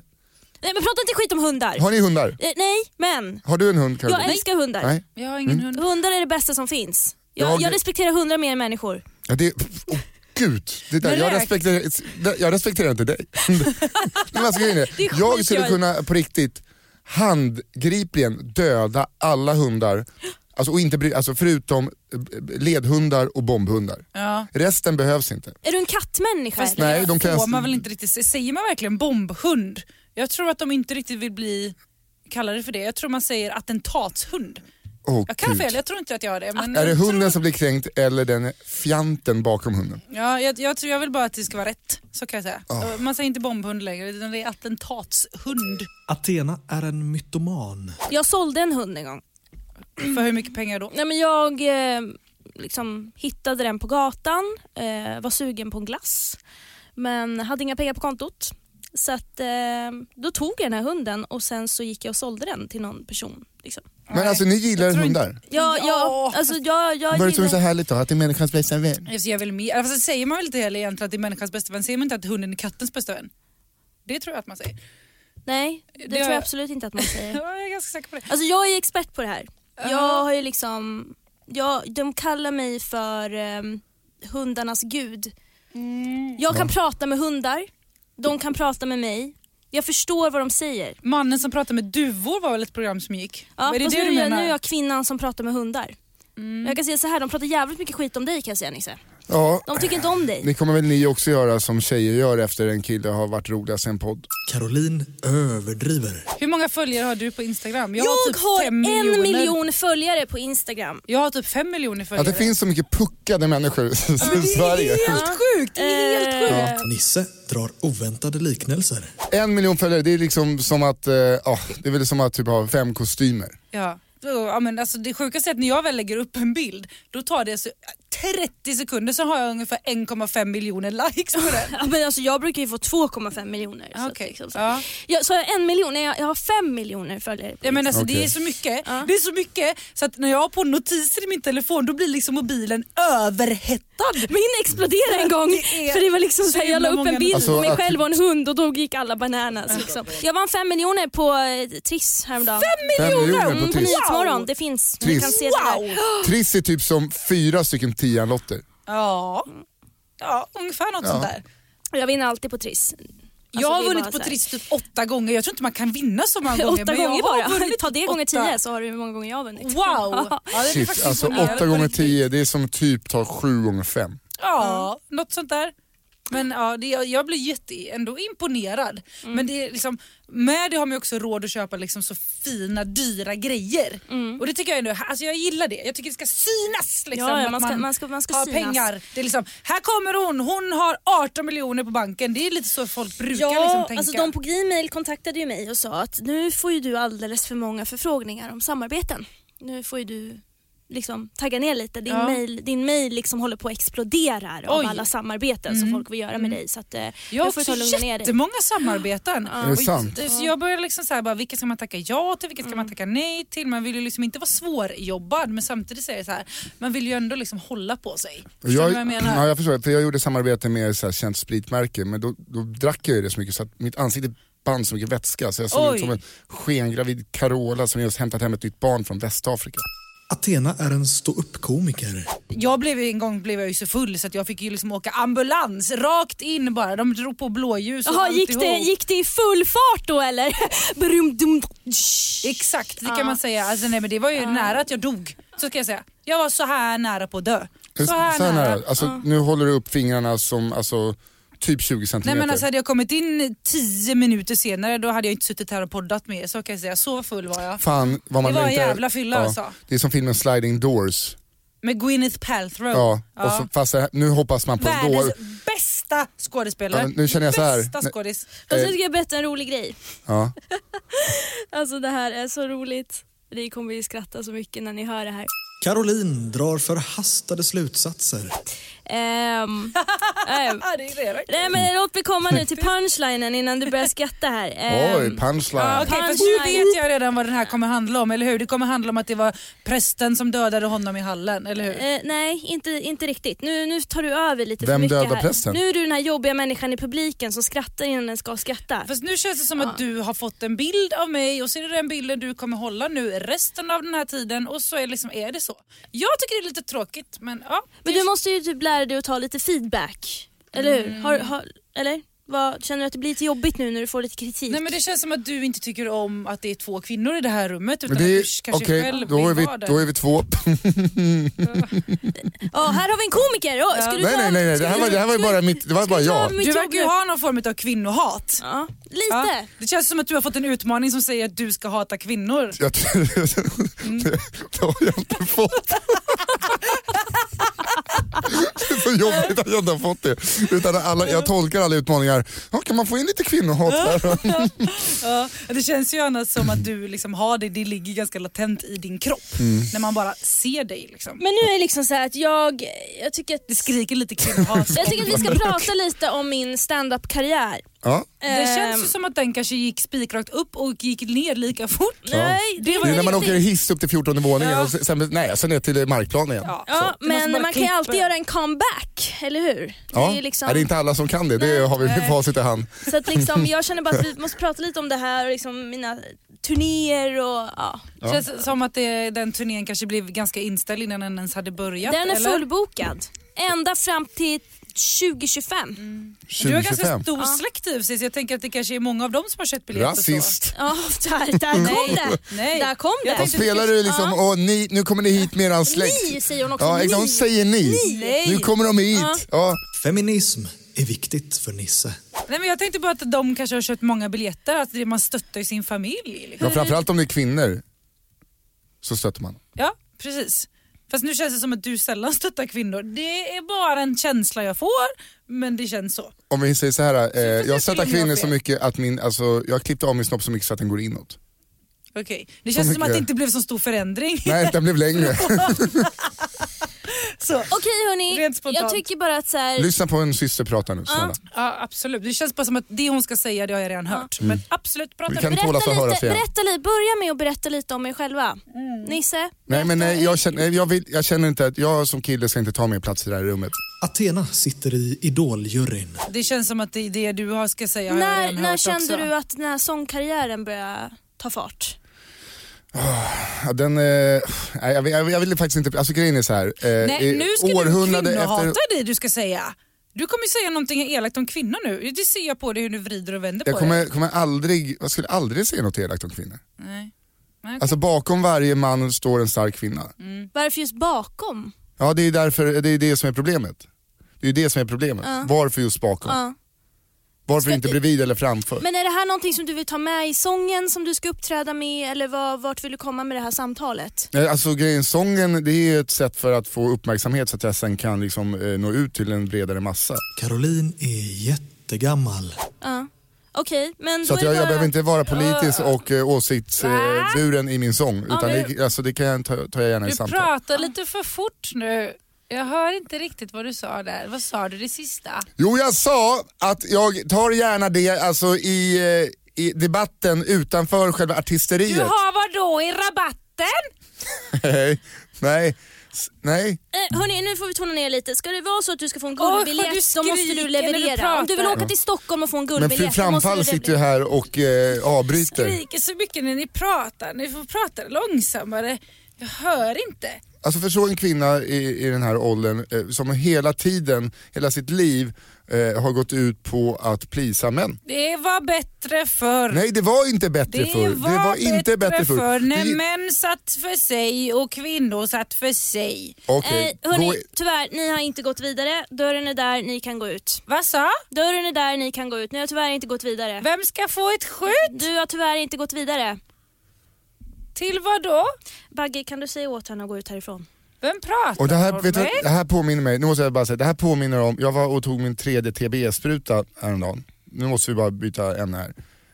S4: Nej men prata inte skit om hundar.
S3: Har ni hundar?
S4: Eh, nej, men.
S3: Har du en hund Caroline?
S4: Jag älskar hundar.
S3: Nej.
S2: jag har ingen
S3: Mm.
S2: hund.
S4: Hundar är det bästa som finns. Jag, jag,
S3: Jag-
S4: respekterar hundar mer än människor.
S3: Ja, det, oh, gud, det där,
S2: Men
S3: jag,
S2: räk-
S3: respekterar, det- jag respekterar inte dig. Nej, men alltså, grejen är, jag skulle
S4: skitkul.
S3: kunna på riktigt handgripligen döda alla hundar, alltså, och inte bry, alltså, förutom eh, ledhundar och bombhundar.
S2: Ja.
S3: Resten behövs inte.
S4: Är du en kattmänniska?
S2: Fast
S4: eller?
S3: Nej, de kan-
S2: får man väl inte riktigt, se- säger man verkligen bombhund? Jag tror att de inte riktigt vill bli kallade för det. Jag tror man säger attentatshund.
S3: Åh,
S2: Jag kan
S3: gud.
S2: fel, jag tror inte att jag har det. Men
S3: Är det
S2: jag tror-
S3: hunden som blir kränkt eller den fjanten bakom hunden?
S2: Ja, jag, jag, tror, jag vill bara att det ska vara rätt. Så kan jag säga. Man säger inte bombhund längre, utan det är attentatshund.
S1: Athena är en mytoman.
S4: Jag sålde en hund en gång.
S2: För hur mycket pengar då?
S4: Nej, men jag eh, liksom, hittade den på gatan, eh, var sugen på en glass men hade inga pengar på kontot. Så att, eh, då tog jag den här hunden och sen så gick jag och sålde den till någon person. Liksom.
S3: Men alltså ni gillar
S2: Jag tror inte-
S3: hundar?
S4: Ja,
S2: Ja.
S4: ja, alltså jag, jag
S3: Vad är det som är så
S4: gillar...
S3: härligt då? Att det är människans bästa vän?
S2: Alltså, jag vill mer. Alltså, säger man väl inte heller egentligen att det är människans bästa vän? Säger man inte att hunden är kattens bästa vän? Det tror jag att man säger.
S4: Nej, det,
S2: Det-
S4: tror jag absolut inte att man säger.
S2: Ja, jag är ganska säker på det.
S4: Alltså jag är expert på det här.
S2: Ja.
S4: Jag har ju liksom, jag, de kallar mig för eh, hundarnas gud. Jag kan prata med hundar, de kan prata med mig. Jag förstår vad de säger.
S2: Mannen som pratade med duvor var väl ett program som gick?
S4: Ja,
S2: Vad är det
S4: fast
S2: det
S4: nu,
S2: du
S4: är jag, nu
S2: menar?
S4: är jag kvinnan som pratar med hundar. Jag kan säga så här, de pratar jävligt mycket skit om dig kan jag säga Nisse.
S3: Ja,
S4: De tycker inte om dig.
S3: det kommer väl ni också göra som tjejer gör efter en kille har varit roligast i en podd.
S1: Caroline överdriver.
S2: Hur många följare har du på Instagram?
S4: Jag har,
S3: typ
S2: fem
S4: en
S2: miljoner.
S4: miljon följare på Instagram.
S2: Jag har typ fem miljoner följare.
S3: Att det finns så mycket puckade människor i Sverige.
S2: sjukt! Det är
S4: Eh,
S2: helt sjukt.
S1: Nisse drar oväntade liknelser.
S3: En miljon följare, det är liksom som att, eh, ja, det är väl som att typ ha fem kostymer.
S2: Ja. Ja, men alltså det sjukaste är att när jag väl lägger upp en bild, då tar det så 30 sekunder så har jag ungefär 1,5 miljoner likes på den.
S4: Ja, men alltså, jag brukar ju få 2,5 miljoner. Så, att
S2: Okej.
S4: liksom, så.
S2: Ja.
S4: Jag, så har jag en miljon? Nej, jag, jag har fem miljoner följare. på
S2: Ja, men alltså, Det
S3: Okej.
S2: är så mycket. Det är så mycket så att när jag har på notiser i min telefon då blir liksom mobilen överhettad.
S4: Min exploderade en gång
S2: är
S4: för det var liksom
S2: så
S4: så här, jag la
S2: himla
S4: upp en
S2: många-
S4: bild
S3: Alltså,
S4: på mig
S3: att-
S4: själv och en hund och då gick alla bananas. Liksom. Jag vann fem miljoner på eh, Triss häromdagen.
S3: Fem miljoner på
S4: Mm, på
S3: Triss.
S4: Nyhetsmorgon, det finns. Ni
S3: Triss.
S4: kan se det där.
S3: Triss är typ som fyra stycken tianlotter.
S2: Ja, ja ungefär något
S3: Ja.
S2: sånt där.
S4: Jag vinner alltid på Triss.
S2: Jag
S4: Alltså,
S2: har
S4: det är
S2: vunnit
S4: bara
S2: på
S4: så här.
S2: Triss typ åtta gånger. Jag tror inte man kan vinna så många gånger.
S4: åtta
S2: men jag
S4: gånger
S2: har
S4: bara.
S2: vunnit
S4: Ta det
S2: typ
S4: gånger
S2: åtta.
S4: tio så har du hur många gånger jag har vunnit.
S2: Wow! Ja, det är
S3: Shit,
S2: faktiskt
S3: alltså
S2: imponerande.
S3: åtta gånger tio, det är som typ tar sju gånger fem.
S2: Ja, något sånt där. Men ja, det, jag, jag blir jätte, ändå imponerad.
S4: Mm.
S2: Men det är liksom, med det har man ju också råd att köpa liksom så fina, dyra grejer. Och det tycker jag ändå, alltså jag gillar det. Jag tycker det ska synas liksom.
S4: Mm. Ja, ja,
S2: att
S4: man ska- man ska- man ska
S2: har
S4: synas.
S2: pengar. Det är liksom, här kommer hon, hon har 18 miljoner på banken. Det är lite så folk brukar
S4: Ja,
S2: liksom tänka.
S4: alltså de på Gmail kontaktade ju mig och sa att nu får ju du alldeles för många förfrågningar om samarbeten. Nu får ju du liksom tagga ner lite. Din
S2: Ja.
S4: mail, din mail liksom håller på att explodera av
S2: Oj.
S4: alla samarbeten som folk vill göra med dig. Så att, eh,
S2: Jag har
S4: nu får du
S2: också
S4: ta och lugna ner dig.
S2: jättemånga samarbeten.
S3: Är det
S2: Och
S3: sant?
S2: just- Så jag börjar liksom så här bara, vilka ska man tacka ja till, vilka ska man tacka nej till? Man vill ju liksom inte vara svårjobbad men samtidigt säger så här, man vill ju ändå liksom hålla på sig.
S3: Och
S2: Förstår du vad jag menar?
S3: ja, jag förstår, för jag gjorde samarbete med så här, känt spritmärke men då, då drack jag ju det så mycket så att mitt ansikte band så mycket vätska så jag såg
S2: Oj.
S3: ut som en skengravid Carola som just hämtat hem ett nytt barn från Västafrika.
S1: Athena är en ståuppkomiker.
S2: Jag blev ju en gång blev jag ju så full så att jag fick ju liksom åka ambulans rakt in bara. De drog på blåljus och
S4: Jaha, gick det,
S2: alltihop.
S4: gick det i full fart då eller? Brum, dum,
S2: Exakt, det kan man säga. Alltså, nej, men det var ju nära att jag dog. Så ska jag säga. Jag var så här nära på att dö. Så här, nära.
S3: Alltså, Nu håller du upp fingrarna som alltså, typ 20
S2: Nej
S3: centimeter.
S2: men alltså hade jag kommit in tio minuter senare då hade jag inte suttit här och poddat med er så kan jag säga. Så full var jag.
S3: Fan vad man
S2: Det var
S3: längtar-
S2: en jävla fylla, alltså.
S3: Det är som filmen Sliding Doors.
S2: Med Gwyneth Paltrow.
S3: Ja. Och så, fast det här- nu hoppas man på
S2: Världens
S3: dår.
S2: bästa skådespelare.
S3: Ja, men nu känner jag så här.
S2: Bästa
S3: Nej.
S2: skådis.
S4: Fast nu ska jag berätta en rolig grej.
S3: Ja.
S4: Alltså det här är så roligt. Ni kommer ju skratta så mycket när ni hör det här.
S1: Caroline drar förhastade slutsatser.
S4: Ehm, ehm.
S2: Ja, det är det. Okej,
S4: Nej men låt mig komma nu till punchlinen innan du börjar skratta här. Ehm,
S3: Oj, punchline.
S2: fast nu vet jag redan vad den här kommer handla om, eller hur? Det kommer handla om att det var prästen som dödade honom i hallen, eller hur?
S4: eh, nej, inte, inte riktigt. Nu, nu tar du över lite för
S3: Vem
S4: mycket
S3: dödar
S4: här.
S3: prästen?
S4: Nu är du den här jobbiga människan i publiken som skrattar innan den ska skratta.
S2: Fast nu känns det som att du har fått en bild av mig och så är det den bilden du kommer hålla nu resten av den här tiden och så är, liksom, är det så. Jag tycker det är lite tråkigt men ja.
S4: Men du måste ju typ lära dig att ta lite feedback. Eller hur?
S2: Mm.
S4: Har, har, eller? Vad, känner du att det blir lite jobbigt nu när du får lite kritik?
S2: Nej men det känns som att du inte tycker om att det är två kvinnor i det här rummet utan
S3: Men det
S2: att du
S3: är,
S2: kanske
S3: okej,
S2: själv
S3: då, är
S2: vill
S3: vi,
S2: vara där.
S3: då är vi två.
S4: Ja, här har vi en komiker! Oh, ska du
S3: nej,
S4: ta-
S3: nej, nej, nej. Det, här var, det här var ju bara, mitt, det var bara jag.
S4: mitt
S2: Du verkar ju
S4: jobb-
S2: ha någon form av kvinnohat.
S4: Ja, lite.
S2: Ja. Det känns som att du har fått en utmaning som säger att du ska hata kvinnor.
S3: Jag, det, det har jag inte fått. Det är så jobbigt att jag inte har fått det. Utan alla, jag tolkar alla utmaningar. Ja, kan man få in lite kvinnohat här?
S2: Ja. Det känns ju annars som att du liksom har det, det ligger ganska latent i din kropp.
S3: Mm.
S2: När man bara ser dig liksom.
S4: Men nu är det liksom så här att jag, jag tycker att
S2: Det skriker lite kvinnohat.
S4: Jag tycker att vi ska prata lite om min stand-up karriär
S3: Ja.
S2: Det känns
S4: Ehm,
S2: ju som att den kanske gick spikrakt upp och gick ner lika fort.
S4: Nej, det var
S3: Det är när man
S4: riktigt-
S3: åker hiss upp till 14 våningen och sen, sen, nej, sen ner till markplanen igen. Ja.
S2: Ja, det
S4: Ja,
S2: måste
S4: men
S2: bara
S4: man kan ju
S2: klippa.
S4: alltid göra en comeback, eller hur?
S3: Ja.
S4: Det är liksom,
S3: det är inte alla som kan det, det har vi med facit i hand.
S4: Så att liksom, jag känner bara att vi måste prata lite om det här och liksom mina turnéer och ja.
S2: Känns som att det, den turnén kanske blev ganska inställd innan den ens hade börjat.
S4: Den är
S2: eller?
S4: fullbokad. Ända fram till 2025.
S2: Mm. Du har ganska
S3: 2025.
S2: stor släkt i och för sig, så jag tänker att det kanske är många av dem som har köpt biljetter. och så.
S3: Rasist.
S4: Ja, där, där kom det.
S2: Nej.
S4: Där kom
S2: Jag
S4: det.
S3: De spelar du liksom, åh ni, nu kommer ni hit med eran släkt.
S4: Ni säger hon också.
S3: Ja, exakt,
S4: ni.
S3: de säger ni.
S2: Nej.
S3: Nu kommer de hit. Ja.
S1: Feminism är viktigt för Nisse.
S2: Nej, men jag tänkte bara att de kanske har köpt många biljetter, att det- man stöttar ju sin familj. Liksom.
S3: Ja, framförallt om det är kvinnor så stöter man.
S2: Ja, precis. Fast nu känns det som att du sällan stöttar kvinnor. Det är bara en känsla jag får, men det känns så.
S3: Om vi säger så här, eh, jag
S2: försöker
S3: stöttar
S2: du göra
S3: kvinnor så
S2: fel.
S3: mycket att min, alltså, jag klippte av min snopp så mycket så att den går inåt.
S2: Okej. Det känns som att det
S3: mycket.
S2: inte blev så stor förändring.
S3: Nej, den blev längre.
S2: så.
S4: Okej hörni,
S2: Rent spontant.
S4: jag tycker bara att så här,
S3: Lyssna på en syster prata nu, snälla.
S2: Ja, absolut. Det känns bara som att det hon ska säga, det har jag redan hört. Men absolut, prata
S3: Mm. Vi alltså
S2: med mig.
S3: kan tåla att
S4: berätta,
S3: höras
S4: lite,
S3: igen.
S4: berätta lite, börja med att berätta lite om er själva.
S2: Mm.
S4: Nisse?
S3: Nej, men nej, jag, känner, nej, jag, vill, jag känner inte att jag som kille ska inte ta mer plats i det här rummet.
S1: Athena sitter i Idoljuryn.
S2: Det känns som att det, det du har ska säga har jag
S4: när
S2: redan
S4: när
S2: hört
S4: kände
S2: också.
S4: du att den här sångkarriären började ta fart?
S3: Ja, den, eh, nej, jag, vill- jag, vill- jag ville faktiskt inte, alltså grejen är så här. Eh,
S2: Nej,
S3: eh,
S2: nu ska du kvinnohata dig du ska säga. Du kommer ju säga någonting elakt om kvinnor nu. Det ser jag på dig hur du vrider och vänder
S3: jag
S2: på
S3: kommer,
S2: det.
S3: kommer aldrig, jag skulle aldrig säga något elakt om kvinnor.
S2: Nej. Nej, okej.
S3: Alltså bakom varje man står en stark kvinna.
S2: Mm.
S4: Varför just bakom?
S3: Ja det är därför, det är det som är problemet. Det är det som är problemet. Varför just bakom?
S4: Ja.
S3: Varför inte bredvid eller framför?
S4: Men är det här någonting som du vill ta med i sången som du ska uppträda med eller vad, vart vill du komma med det här samtalet?
S3: Nej, Alltså grejen, sången det är ett sätt för att få uppmärksamhet så att jag sen kan liksom, eh, nå ut till en bredare massa.
S1: Caroline är jättegammal.
S4: Ja. Okej, men
S3: Så
S4: då
S3: att
S4: är
S3: jag,
S4: det
S3: jag
S4: bara...
S3: behöver inte vara politisk och eh, åsiktsburen i min sång. Utan
S2: men-
S3: det, alltså, det kan jag ta, tar jag gärna i
S2: Du
S3: samtal.
S2: pratar lite för fort nu. Jag hör inte riktigt vad du sa där. Vad sa du det sista?
S3: Jo, jag sa att jag tar gärna det alltså, i, eh, i debatten utanför själva artisteriet.
S2: Du har vad då i rabatten?
S3: Nej, nej, s- nej.
S4: Eh, hörni, nu får vi tona ner lite. Ska det vara så att du ska få en
S2: vad
S4: guldbiljett
S2: du
S4: då måste
S2: skriker
S4: du
S2: när du
S4: leverera.
S2: pratar.
S4: Om du vill åka till Stockholm och få en
S3: Men
S4: guldbiljett
S3: fru
S4: då måste du
S3: Framfall sitter ju
S4: leverera.
S3: här och eh, avbryter.
S2: Skriker så mycket när ni pratar. Ni får prata långsammare. Jag hör inte.
S3: Alltså förstå en kvinna i, i den här åldern eh, som hela tiden, hela sitt liv eh, har gått ut på att plisa män.
S2: Det var bättre förr.
S3: Nej det var inte bättre
S2: Mm. Det
S3: förr.
S2: var,
S3: det var inte bättre förr.
S2: när
S3: Det-
S2: män satt för sig och kvinnor satt för sig.
S3: Okej,
S4: Eh, hörni,
S3: gå i-
S4: tyvärr, ni har inte gått vidare. Dörren är där, ni kan gå ut.
S2: Vad sa?
S4: Dörren är där, ni kan gå ut. Ni har tyvärr inte gått vidare.
S2: Vem ska få ett skydd?
S4: Du har tyvärr inte gått vidare.
S2: Till vad då?
S4: Bagge, kan du säga åt henne att gå ut härifrån?
S2: Vem pratar
S3: Och det här,
S2: om
S3: vet du,
S2: mig?
S3: vad- det här påminner mig, nu måste jag bara säga, det här påminner om, jag var och tog min tredje TBE-spruta häromdagen. Nu måste vi bara byta ämne här.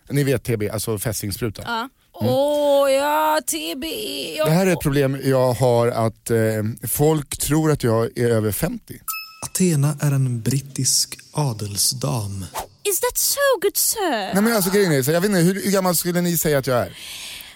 S3: Ni vet TB, alltså fästingspruta.
S2: Åh ja, E TBE.
S3: Mm. Det här är ett problem jag har att eh, folk tror att jag är över 50.
S1: Athena är en brittisk adelsdam.
S4: Is that so good sir?
S3: Nej men alltså grejen är så, jag vet inte, hur, hur gammal skulle ni säga att jag är?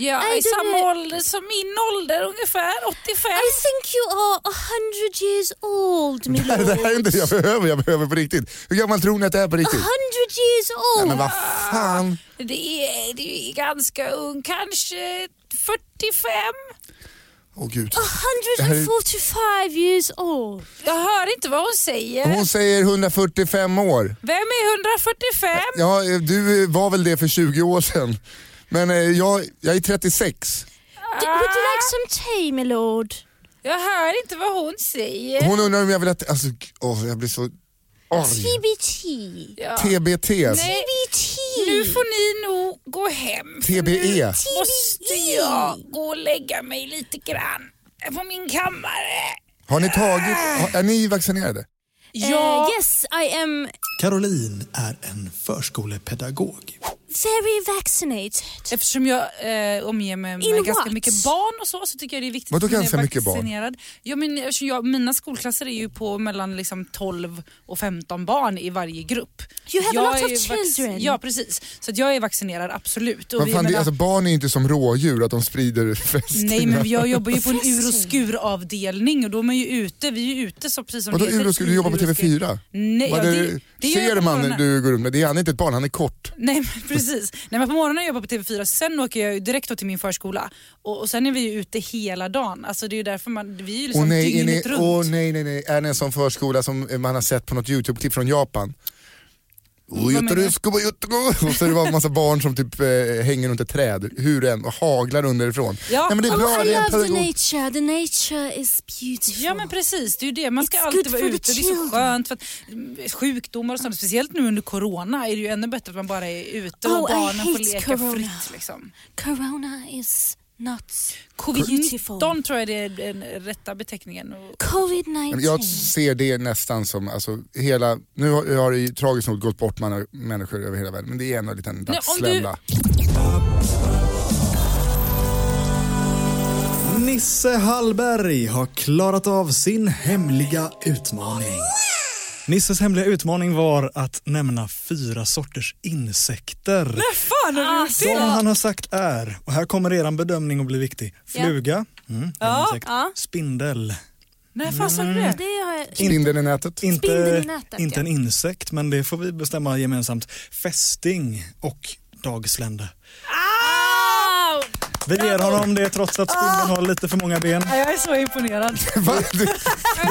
S2: Jag
S4: Nej,
S2: är i
S4: du-
S2: samma ålder som min ålder ungefär, 85.
S4: I think you are a hundred years old, my
S3: Nej, det
S4: lord.
S3: här är inte det jag behöver, jag behöver på riktigt. Hur gammal tror ni att jag är på riktigt?
S4: Hundred years
S3: Nej
S4: old!
S3: men vad fan.
S2: Det är, det är ganska ung, kanske 45.
S3: Åh gud.
S4: 145 years old.
S2: Jag hör inte vad hon säger.
S3: Hon säger 145 år.
S2: Vem är 145?
S3: Ja, eh, du eh, var väl det för 20 år sedan. Men eh, jag, jag är 36.
S4: D- would you like some tea, my lord? Eh,
S2: Jag hör inte vad hon säger.
S3: Hon undrar om jag vill att... Alltså, g- åh, jag blir så... Oj.
S4: TBT.
S2: Ja.
S3: TBT.
S2: Nej,
S4: TBT.
S2: Eh, nu får ni nog gå hem. för
S3: TBE.
S2: nu Måste jag gå och lägga mig lite grann på min kammare. Eh,
S3: Har ni tagit... har- Är ni vaccinerade?
S4: Eh, yes, I am...
S1: Caroline är en förskolepedagog.
S4: very vaccinated.
S2: Eftersom jag eh, omger mig med
S4: In
S2: ganska
S4: what?
S2: mycket barn och så, så tycker jag det är viktigt
S3: Vadå
S2: att man
S3: ganska
S2: är
S3: mycket barn?
S2: vaccinerad. Ja, men, eftersom jag, mina skolklasser är ju på mellan liksom, 12 och 15 barn i varje grupp.
S4: You have a
S2: jag
S4: lot of
S2: är vac-
S4: children.
S2: Ja precis, så att jag är vaccinerad absolut. Och
S3: Men
S2: vi-
S3: fan,
S2: jag
S3: det,
S2: menar-
S3: alltså, barn är ju inte som rådjur att de sprider fästingar.
S2: Nej men jag jobbar ju på en ur och
S4: Fascin.
S2: skuravdelning och då är man ju ute, vi är ju ute så precis som
S3: Vadå
S2: det heter,
S3: Ulo, skulle
S2: i
S3: du jobba på
S2: ur och skur.
S3: TV4?
S2: Nej,
S3: Vad
S2: ja,
S3: är
S2: det,
S3: det,
S2: det gör jag
S3: ser
S2: på
S3: man
S2: morgonen.
S3: du går runt med, det är han är inte ett barn, han är kort.
S2: Nej men precis. Nej, men på morgonen jobbar jag på TV4, sen åker jag ju direkt då till min förskola och, och sen är vi ju ute hela dagen. Alltså det är ju därför man, vi är ju liksom
S3: Åh nej, är ni,
S2: dygnet runt.
S3: åh, nej, nej, nej, är ni en sån förskola som man har sett på något YouTube-klipp från Japan? Och
S2: menar du?
S3: Jutterusko, jutterusko. Och så är det bara en massa barn som typ eh, hänger runt ett träd, hur än, och haglar underifrån.
S2: Ja.
S3: Nej men det är bra,
S4: Oh, I
S3: det är en
S4: love the
S3: pedagog.
S4: nature. The nature is beautiful.
S2: Ja men precis, det är ju det. Man ska
S4: It's good
S2: alltid vara
S4: for the
S2: ute och det är så
S4: children.
S2: skönt för att mm, sjukdomar och sånt, speciellt nu under corona är det ju ännu bättre att man bara är ute och
S4: Oh, I
S2: barnen får
S4: hate
S2: leka
S4: corona.
S2: fritt. Liksom.
S4: Corona is not beautiful.
S2: Covid-19 tror jag det är den rätta beteckningen. Och-
S4: Covid-19.
S3: Men Jag ser det nästan som, alltså, hela, nu har, har det ju tragiskt nog gått bort man, människor över hela världen, men det är ändå en liten
S2: Nej, om du-
S3: dagslända.
S1: Nisse Hallberg har klarat av sin hemliga utmaning. Nisses hemliga utmaning var att nämna fyra sorters insekter.
S2: Fan har du gjort
S1: Som
S2: det?
S1: han har sagt är, och här kommer eran bedömning att bli viktig. Fluga, mm, det är en insekt.
S4: ja.
S1: spindel.
S2: Nej fan såg du det?
S4: Det har jag...
S3: Spindeln i nätet.
S1: Inte,
S4: Spindeln i nätet,
S1: inte
S4: ja.
S1: en insekt, men det får vi bestämma gemensamt. Fästing och dagslända.
S2: Au!
S1: Vi ger honom det trots att
S4: Ah.
S1: spindeln har lite för många ben.
S2: Ja, Jag är så imponerad.
S3: Va?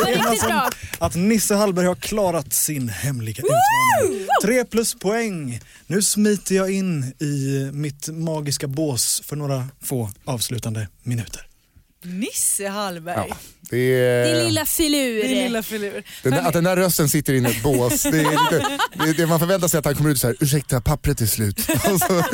S1: Det är alltså att Nisse Hallberg har klarat sin hemliga utmaning. Tre plus poäng. Nu smiter jag in i mitt magiska bås för några få avslutande minuter.
S2: Nisse Hallberg.
S3: Ja, det är...
S4: Din lilla filur.
S2: eh. Din lilla filur.
S3: Den där,
S2: Men-
S3: att den där rösten sitter inne i ett bås, det är lite, det, det man förväntar sig att han kommer ut så här, ursäkta pappret är slut. Och så,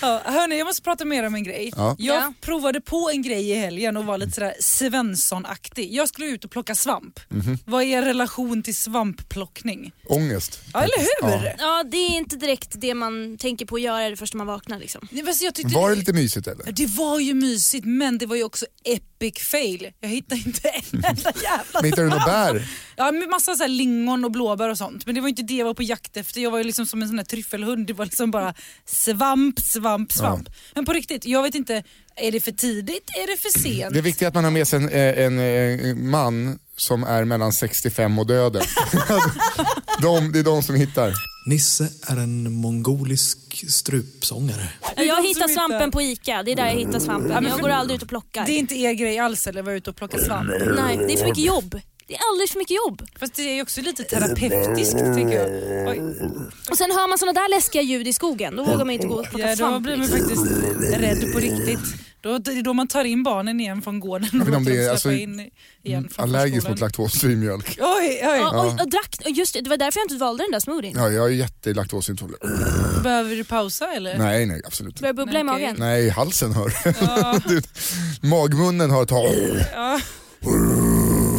S2: Ja, hörni, jag måste prata med er om en grej.
S3: Ja.
S2: Jag
S4: Ja.
S2: provade på en grej i helgen och var lite sådär Svensson-aktig. Jag skulle ut och plocka svamp.
S3: Mhm.
S2: Vad är er relation till svampplockning?
S3: ångest.
S2: Ja, eller hur?
S4: Ja, det är inte direkt det man tänker på att göra det första man vaknar liksom.
S2: Nej, men så jag tyckte,
S3: Var det lite mysigt eller?
S2: Ja, det var ju mysigt men det var ju också epic fail. Jag hittade inte en enda jävla
S3: Men hittar du något bär?
S2: Ja, med massa så här lingon och blåbär och sånt. Men det var inte det jag var på jakt efter. Jag var ju liksom som en sån här tryffelhund. Det var liksom bara svamp, svamp, svamp. Men på riktigt, jag vet inte. Är det för tidigt? Är det för sent?
S3: Det är viktigt att man har med sig en, eh, en, en man som är mellan 65 och döden. de, det är de som hittar.
S1: Nisse är en mongolisk strupsångare.
S2: Det är de
S4: Jag
S2: som
S4: hittar
S2: hittar-
S4: svampen på Ica, det är där jag hittar svampen.
S2: men
S4: Jag
S2: för-
S4: går aldrig ut och plockar.
S2: Det är inte er grej alls eller att vara ute och plocka svamp.
S4: Nej, det är för mycket jobb. Det är alldeles för mycket jobb.
S2: Fast det är ju också lite terapeutiskt tänker jag. Oj.
S4: Och sen hör man såna där läskiga ljud i skogen, då vågar man inte gå och plocka
S2: Ja, då
S4: svamp.
S2: blir
S4: Liksom.
S2: man faktiskt rädd på riktigt. Då, det är då man tar in barnen igen från gården och
S3: vet inte om
S2: låter
S3: det är-
S2: dem
S3: alltså,
S2: släppa in igen från
S3: Allergisk mot
S2: förskolan.
S3: laktosfri mjölk.
S2: Oj, oj.
S4: Ja, och, och drack, och just det, det var därför jag inte valde den där smoothien.
S3: Ja, jag är jättelaktosintolerant.
S2: Behöver du pausa eller?
S3: Nej, nej absolut inte.
S4: Börjar bubbla i
S2: Nej, okej.
S4: magen.
S3: Nej, halsen hör. Du, Magmunnen har ett tag.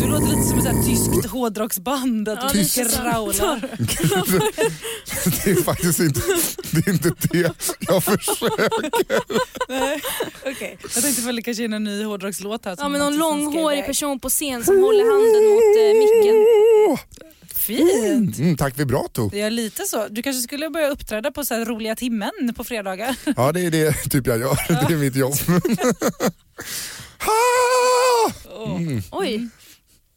S2: Du låter lite som ett så här tyskt hårdrocksband. Att du
S4: Tyst.
S2: growlar.
S3: Det är faktiskt inte det, är inte det jag försöker.
S2: Okej. Jag tänkte väl kanske in en ny hårdrockslåt här. som
S4: Ja men
S2: man
S4: någon
S2: liksom ska
S4: långhårig
S2: iväg.
S4: person på scen som håller handen mot eh, micken.
S2: Fint.
S3: Mm, tack vibrato.
S2: Ja lite så. Du kanske skulle börja uppträda på så här roliga timmen på fredagar.
S3: Ja det är det typ jag gör, det är mitt jobb. Ha!
S4: Oj,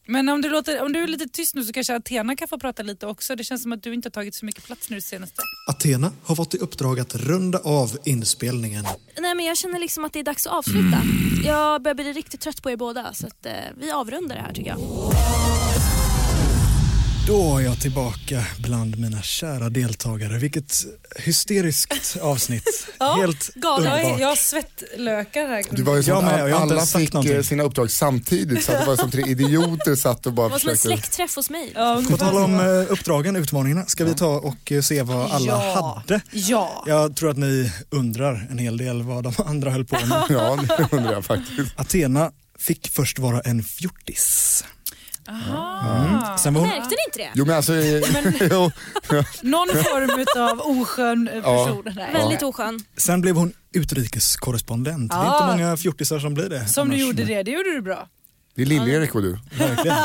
S2: Men om du, låter, om du är lite tyst nu så kanske Athena kan få prata lite också. Det känns som att du inte har tagit så mycket plats nu senaste.
S1: Athena har fått i uppdrag att runda av inspelningen.
S4: nej men jag känner liksom att det är dags att avsluta.
S3: Mm.
S4: Jag börjar bli riktigt trött på er båda så att eh, vi avrundar det här tycker jag.
S1: Då är jag tillbaka bland mina kära deltagare. Vilket hysteriskt avsnitt. Helt
S2: Jag, är,
S1: underbart.
S2: jag har svettlökar här.
S3: Det var ju som
S1: Jag med,
S3: att
S1: och jag har inte
S3: alla
S1: ens sagt
S3: fick
S1: någonting.
S3: eh, sina uppdrag samtidigt så att det var som tre idioter satt och bara
S4: Det var som en
S3: försökte.
S4: släktträff hos mig.
S2: Ja,
S1: På
S2: ungefär
S1: tal om
S2: så.
S1: eh, uppdragen, utmaningarna, ska vi ta och eh, se vad alla
S2: Ja.
S1: hade?
S2: Ja.
S1: Jag tror att ni undrar en hel del vad de andra höll på med.
S3: Ja det undrar jag faktiskt.
S1: Athena fick först vara en fjortis. Mm.
S2: Aha.
S1: Sen var hon,
S4: Märkte ni inte det?
S3: Jo men alltså, jo,
S2: Någon form av oskön eh,
S3: Ja.
S2: person. Nej.
S4: Väldigt oskön.
S1: sen blev hon utrikeskorrespondent. Det är
S2: Ah.
S1: inte många fjortisar som blir det.
S2: Som du
S1: annars.
S2: gjorde det, det gjorde du bra.
S3: det är Lill-Erik och du.
S1: Verkligen.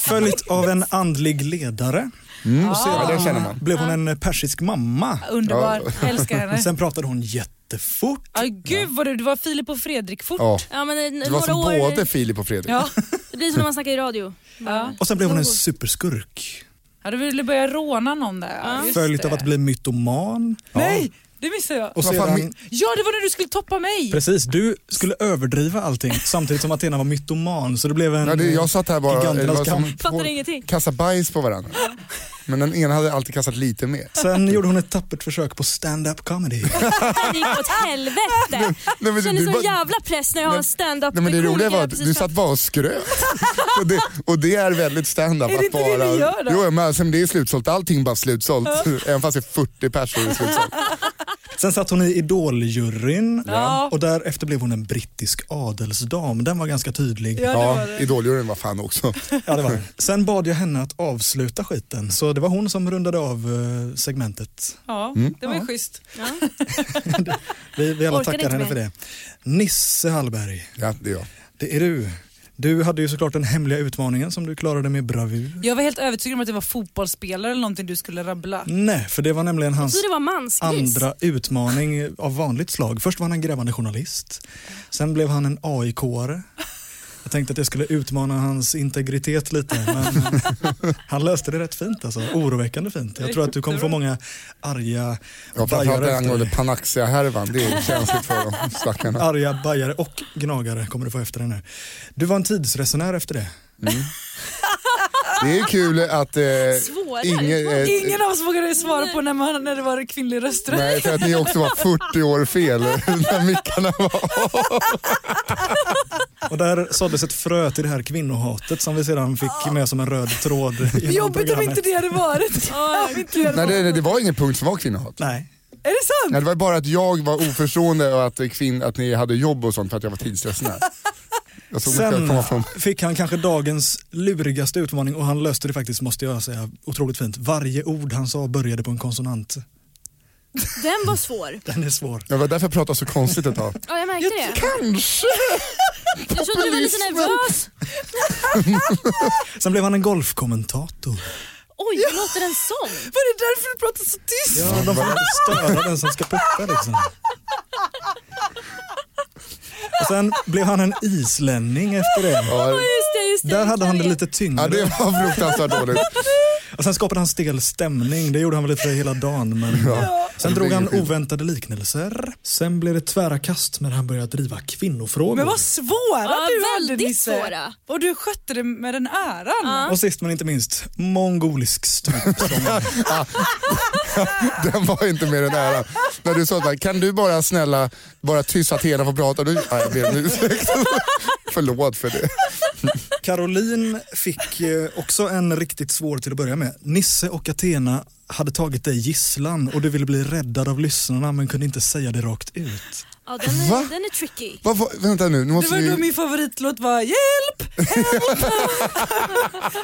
S1: Följt av en andlig ledare. Och
S3: Ja, den
S1: sedan
S3: känner man.
S1: blev hon en persisk mamma.
S2: Underbar, älskar henne.
S1: Sen pratade hon jättefort.
S2: Ja, gud vad du, du var Filip och Fredrik fort.
S3: Ja.
S4: Ja, men eh,
S3: Det var
S4: några
S3: som
S4: år...
S3: både Filip och Fredrik.
S2: Ja.
S4: Det blir som när man snackar i radio.
S2: Ja.
S1: Och sen blev hon en superskurk.
S2: ja, du ville börja råna någon där. Ja, just
S1: Följt
S2: det.
S1: av att bli mytoman.
S2: Nej, det missade jag.
S1: Och
S3: Vad fan,
S1: sedan,
S3: min-
S2: Ja, det var när du skulle toppa mig.
S1: precis, du skulle överdriva allting samtidigt som Athena var mytoman så det blev en eh,
S3: Ja, det, jag satt här bara, det
S1: giganternas
S3: var
S1: kamp.
S3: som
S4: Fattar
S3: två
S4: ingenting.
S3: kassa bajs på varandra. Men den ena hade alltid kastat lite mer.
S1: Sen gjorde hon ett tappert försök på stand-up comedy.
S4: Det gick åt helvete.
S3: Nej, men,
S4: Känner
S3: du
S4: sån
S3: bara-
S4: jävla press när jag har en stand-up
S3: Nej, men det
S4: komiker
S3: roliga var
S4: här
S3: att
S4: precis
S3: du
S4: fram-
S3: satt bara och skröt. och, det, och det är väldigt stand-up.
S2: Är det
S3: att
S2: inte det
S3: bara-
S2: vi gör då?
S3: Jo, men alltså, det är slutsålt. Allting är bara slutsålt. Även fast det är 40 personer slutsålt.
S1: Sen satt hon i Idol-juryn
S2: Ja.
S1: och därefter blev hon en brittisk adelsdam. Den var ganska tydlig.
S2: Ja, det var
S3: Ja,
S2: det.
S3: Idoljuryn var fan också.
S1: Ja, det var. det. Sen bad jag henne att avsluta skiten, så det var hon som rundade av eh, segmentet.
S2: Ja, det var ju schysst.
S1: Vi, vi alla
S4: Orkar
S1: tackar
S4: inte
S1: henne
S4: mer.
S1: för det. Nisse Hallberg,
S3: Ja, det är jag.
S1: det är du. Du hade ju såklart den hemliga utmaningen som du klarade med bravur.
S2: Jag var helt övertygad om att det var fotbollsspelare eller någonting du skulle rabbla.
S1: Nej, för det var nämligen hans
S4: Så det var mansgris.
S1: andra utmaning av vanligt slag. Först var han en grävande journalist, sen blev han en AIK-are. Jag tänkte att jag skulle utmana hans integritet lite, men eh, han löste det rätt fint alltså. Oroväckande fint. Jag tror att du kommer få många arga
S3: Ja, framförallt
S1: bajare
S3: det
S1: efter
S3: angående
S1: dig.
S3: Panaxia-härvan. Det är känsligt för de stackarna.
S1: Arga bajare och gnagare kommer du få efter dig nu. Du var en tidsresenär efter det.
S3: Det är kul att... Eh,
S4: Svåra
S3: ingen, eh,
S2: Ingen av oss vågade svara på när, man, när det var kvinnlig rösträtt.
S3: Nej, för att ni också var 40 år fel när mickarna var
S1: Och där såddes ett frö till det här kvinnohatet som vi sedan
S4: Ah.
S1: fick med som en röd tråd genom
S2: Jobbigt om
S1: programmet.
S2: inte det hade varit. Om inte det hade
S3: Nej,
S2: varit.
S3: det, det- det var ingen punkt som var kvinnohat.
S1: Nej,
S2: Är det sant?
S3: Nej, det var bara att jag var oförstående och att, eh, kvinn, att ni hade jobb och sånt för att jag var tidsresenär. Jag såg mig själv
S1: Sen
S3: komma från...
S1: fick han kanske dagens lurigaste utmaning och han löste det faktiskt måste jag säga otroligt fint. Varje ord han sa började på en konsonant.
S4: Den var svår.
S1: Den är svår.
S3: Det var därför jag pratade så konstigt ett tag.
S4: Ja, jag märkte det.
S3: Kanske!
S4: Jag trodde du var lite nervös.
S1: Sen blev han en golfkommentator.
S4: Oj, hur låter en sån?
S2: Var det därför du pratade så tyst?
S1: Ja, de får inte störa den som ska putta liksom. Och sen blev han en islänning efter det.
S3: Ja,
S4: Just det, just det.
S1: Där hade han det
S4: Jag
S1: lite
S3: ja, det
S1: tyngre.
S3: var fruktansvärt dåligt.
S1: Och sen skapade han stel stämning. Det gjorde han väl lite hela dagen. Men... Sen drog han oväntade liknelser. Sen blev det tvära kast när han började driva kvinnofrågor.
S2: Men vad svåra
S4: Ja,
S2: du hade
S4: väldigt
S2: Nisse.
S4: svåra.
S2: Och du skötte det med den äran.
S1: Och sist men inte minst, mongolisk strypsång.
S3: Den var inte mer än ära. När du sa att kan du bara snälla bara tyst så att Hena får prata. Du, ja, jag ber om ursäkt. Förlåt för det.
S1: Caroline fick eh, också en riktigt svår till att börja med. Nisse och Athena hade tagit dig gisslan och du ville bli räddad av lyssnarna men kunde inte säga det rakt ut.
S4: Ja, den är,
S3: Va?
S4: den är tricky.
S3: Vad var- vänta nu, nu
S2: Det
S3: måste
S2: var då
S3: vi...
S2: min favoritlåt var Hjälp! Help!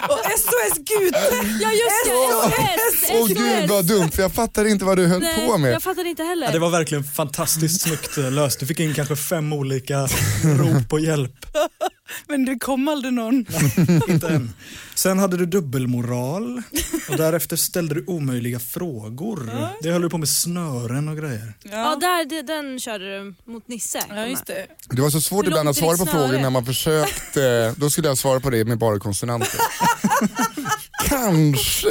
S2: och SOS Gute!
S4: Ja, just det. SOS.
S3: Åh gud vad dumt, för jag fattade inte vad du höll
S4: Nej,
S3: på med.
S4: jag fattade inte heller.
S1: Ja, det var verkligen fantastiskt snyggt eh, löst. Du fick in kanske fem olika rop på hjälp.
S2: Men det kom aldrig någon.
S1: Inte än. Sen hade du dubbelmoral och därefter ställde du omöjliga frågor. Det höll du på med snören och grejer.
S4: Ja, där, det- den körde du mot Nisse.
S2: Ja, just det.
S3: Det var så svårt
S4: Hur
S3: ibland att
S4: långt
S3: svara
S4: är ditt
S3: på
S4: snöre?
S3: frågor när man försökte. Då skulle jag svara på det med bara konsonanter. Kanske.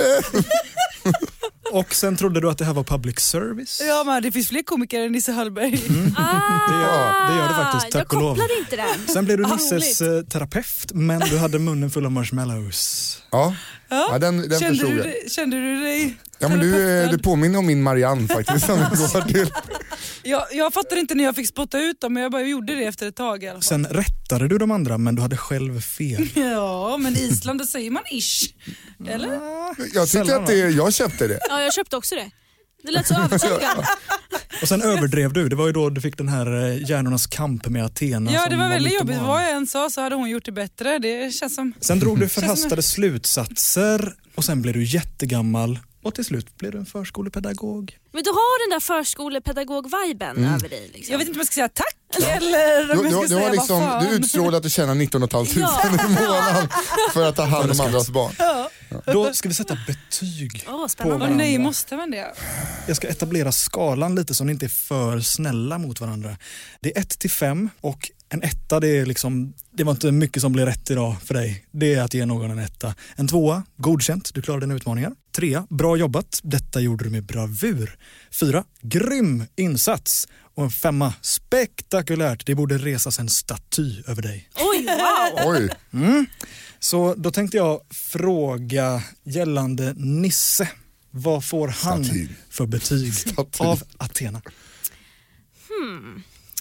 S1: Och sen trodde du att det här var public service.
S2: Ja, men det finns fler komiker än Nisse Hallberg.
S3: Mm,
S4: Ah,
S1: Det gör- det gör det faktiskt,
S4: Jag
S1: tack och lov.
S4: kopplade inte den.
S1: Sen blev du
S2: Ah,
S1: Nisses eh, terapeut men du hade munnen full av marshmallows.
S3: Ja, ja den, den
S2: Kände
S3: förstod
S2: du,
S3: jag.
S2: dig- kände du dig
S3: Ja, men du, eh,
S2: terapeutad?
S3: du påminner om min Marianne faktiskt. Som jag går till.
S2: Jag, jag fattar inte när jag fick spotta ut dem men jag bara gjorde det efter ett tag i alla fall.
S1: Sen rättade du de andra men du hade själv fel.
S2: Ja, men i Island där säger man ish. Eller?
S3: Jag tyckte
S1: Sällan,
S3: att det, jag köpte det.
S4: Ja, jag köpte också det. Det lät så övertygande.
S1: Och sen överdrev du. Det var ju då du fick den här eh, hjärnornas kamp med Athena.
S2: Ja
S1: som
S2: det var väldigt
S1: mytoman.
S2: jobbigt. Vad jag än sa så hade hon gjort det bättre. Det känns som...
S1: Sen drog du förhastade slutsatser och sen blev du jättegammal och till slut blev du en förskolepedagog.
S4: Men du har den där förskolepedagog-viben
S1: Mm.
S4: över dig. Liksom.
S2: Jag vet inte om jag ska säga tack eller om
S3: Du,
S2: jag ska
S3: du, du,
S2: säga
S3: har
S2: vad
S3: liksom,
S2: fan.
S3: du utstrålar att du tjänar 19 500 i månaden för att ta hand om andras barn.
S1: Då ska vi sätta betyg.
S4: Åh,
S1: på
S4: spännande.
S2: Åh nej,
S1: varandra.
S2: måste man det?
S1: Jag ska etablera skalan lite så ni inte är för snälla mot varandra. Det är 1 till 5 och en etta det är liksom, det var inte mycket som blev rätt idag för dig. Det är att ge någon en etta. En tvåa, godkänt, du klarade dina utmaningar. Trea, bra jobbat, detta gjorde du med bravur. Fyra, grym insats. Och en femma, spektakulärt, det borde resas en staty över dig.
S4: Oj, wow.
S3: Oj,
S1: Så då tänkte jag fråga gällande Nisse. Vad får han
S3: Staty.
S1: för betyg
S3: Staty.
S1: av Athena?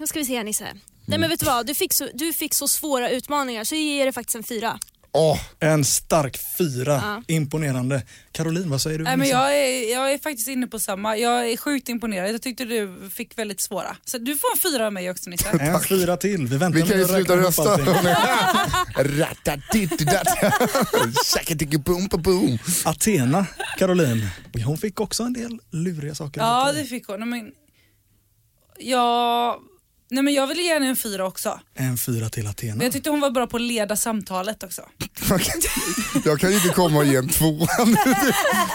S4: Nu ska vi se här Nisse. Nej
S1: Mm.
S4: men vet du vad, du fick, så, du fick så svåra utmaningar så jag ger dig faktiskt en fyra.
S3: åh,
S1: En stark fyra.
S4: Ja.
S1: Imponerande. Caroline, vad säger du?
S2: Nej, men
S1: Nisse?
S2: jag, är, jag är faktiskt inne på samma. Jag är sjukt imponerad. Jag tyckte du fick väldigt svåra. Så du får en fyra av mig också Nisse.
S1: En fyra till. Vi väntar
S3: vi kan
S1: med
S3: ju
S1: att räkna
S3: sluta
S1: ihop
S3: rösta.
S1: allting.
S3: Rattatittidatt. Shackatiki-boom-pa-boom.
S1: Athena, Caroline, hon fick också en del luriga saker.
S2: Ja det fick hon. Nej, men, ja, nej, men jag vill ge henne en fyra också.
S1: En fyra till Athena.
S2: Men jag tyckte hon var bra på att leda samtalet också.
S3: Jag kan ju inte komma och ge en tvåa.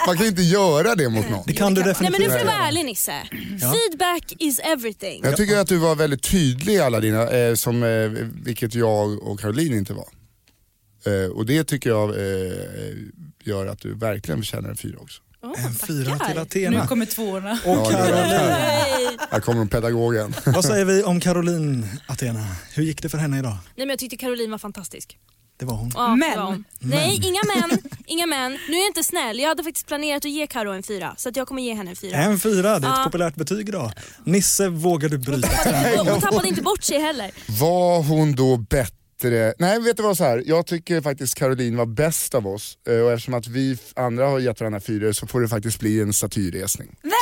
S3: Man kan ju inte göra det mot någon.
S1: Det kan du
S4: Nej
S1: definitivt
S4: men nu får du
S1: göra.
S4: vara ärlig Nisse. Feedback is everything.
S3: Jag tycker att du var väldigt tydlig i alla dina, eh, som, eh, vilket jag och Caroline inte var. Eh, och det tycker jag eh, gör att du verkligen förtjänar en fyra också.
S4: Åh,
S1: En fyra
S4: tackar.
S1: till
S2: Nu
S1: Athena.
S2: kommer tvåorna.
S1: Och Caroline.
S4: Nej.
S3: Här kommer de pedagogen.
S1: Vad säger vi om Caroline, Athena? Hur gick det för henne idag?
S4: Nej men jag tyckte Caroline var fantastisk.
S1: Det var hon.
S4: Ja, det
S2: Men.
S4: var hon. Nej inga men, inga men. Nu är jag inte snäll. Jag hade faktiskt planerat att ge Karo en fyra så att jag kommer ge henne en fyra.
S1: En fyra, det är ett
S4: Ja.
S1: populärt betyg idag. Nisse, vågar du bryta?
S4: Och hon tappade inte bort sig heller.
S3: Var hon då bättre? Nej vet du vad så här. jag tycker faktiskt Caroline var bäst av oss Eh, och eftersom att vi f- andra har gett varandra fyror så får det faktiskt bli en statyresning. Nej!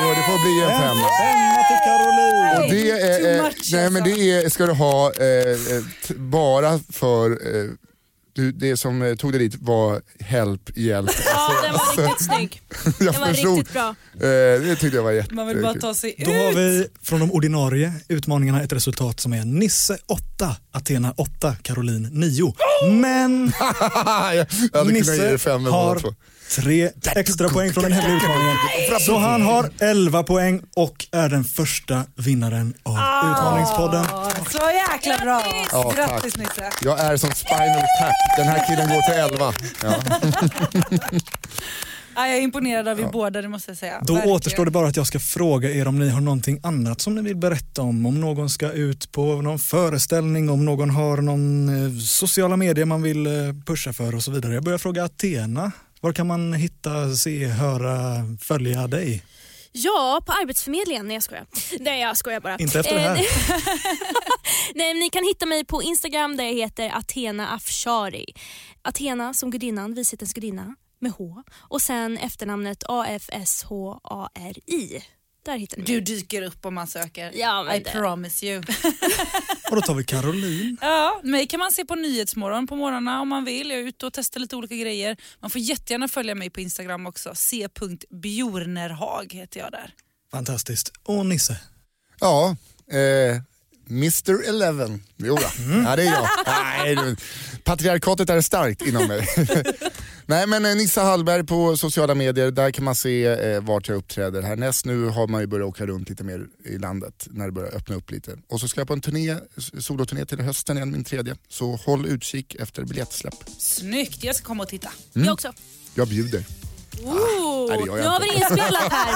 S3: Jo det får bli en femma.
S1: Femma till Caroline.
S3: Och det är,
S2: too
S3: eh,
S2: much,
S3: nej men
S2: alltså.
S3: det är, ska du ha eh, eh, t- bara för eh, du, det som eh, tog dig dit var help, hjälp. Alltså,
S4: Ja den var riktigt snygg.
S3: jag
S4: Den var
S3: förstod.
S4: riktigt bra.
S3: Eh, det tyckte jag var jättekul.
S2: Man vill bara ta sig
S1: Då har
S2: ut.
S1: vi från de ordinarie utmaningarna ett resultat som är Nisse 8, Athena 8, Caroline 9. Men
S3: Ah, jag hade kunnat ge
S1: Nisse
S3: dig fem eller båda två.
S1: har tre extra poäng från den hemliga utmaningen. Så han har 11 poäng och är den första vinnaren av
S3: Ah.
S1: Utmaningspodden.
S2: Så jäkla bra.
S3: Ja, tack.
S2: Grattis Nisse.
S3: Jag är som Spinal Tap, den här killen går till 11. Ja.
S2: Ja, jag är imponerad av er båda det måste jag säga.
S1: Då
S2: Verkligen.
S1: återstår det bara att jag ska fråga er om ni har någonting annat som ni vill berätta om. Om någon ska ut på någon föreställning, om någon har någon eh, sociala medier man vill eh, pusha för och så vidare. Jag börjar fråga Athena. Var kan man hitta, se, höra, följa dig?
S4: Ja, på Arbetsförmedlingen. Nej jag skojar. Nej jag skojar bara.
S1: Inte efter det här.
S4: Eh, Nej, men ni kan hitta mig på Instagram där jag heter Athena Afshari. Athena som gudinnan, vishetens gudinna med H och sen efternamnet A-F-S-H-A-R-I. Där hittar ni mig.
S2: Du dyker upp om man söker.
S4: Ja, men
S2: I
S4: det-
S2: promise you.
S1: Och då tar vi Caroline.
S2: Ja, mig kan man se på Nyhetsmorgon på morgnarna om man vill. Jag är ute och testar lite olika grejer. Man får jättegärna följa mig på Instagram också. c.bjornerhag heter jag där.
S1: Fantastiskt. Och Nisse.
S3: Ja, eh, Mr Eleven. Jo, då. ja, det är jag. Nej, du- patriarkatet är starkt inom mig. Nej men eh, Nissa Hallberg på sociala medier, där kan man se eh, vart jag uppträder härnäst. Nu har man ju börjat åka runt lite mer i landet när det börjar öppna upp lite. Och så ska jag på en turné, s- soloturné till hösten igen, min tredje. Så håll utkik efter biljettsläpp.
S2: Snyggt, jag ska komma och titta.
S4: Jag också.
S3: Jag bjuder.
S4: Ooh,
S3: nej, det gör jag
S4: nu har vi
S3: inte.
S4: det inspelat här.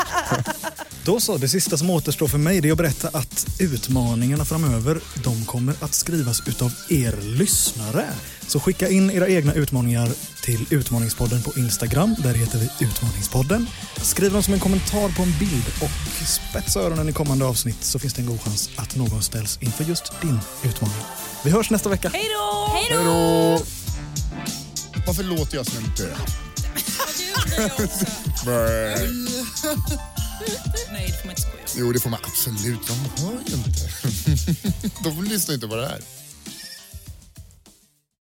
S1: Då så, det sista som återstår för mig det är att berätta att utmaningarna framöver de kommer att skrivas utav er lyssnare. Så skicka in era egna utmaningar till Utmaningspodden på Instagram. Där heter vi Utmaningspodden. Skriv dem som en kommentar på en bild och spetsa öronen i kommande avsnitt så finns det en god chans att någon ställs inför just din utmaning. Vi hörs nästa vecka.
S2: Hej då!
S4: Hej då!
S3: Hejdå! Varför låter jag som en död? Brr.
S2: Nej, det får man inte skoja om.
S3: Jo, det får man absolut. De hör ju inte. De lyssnar inte på det här.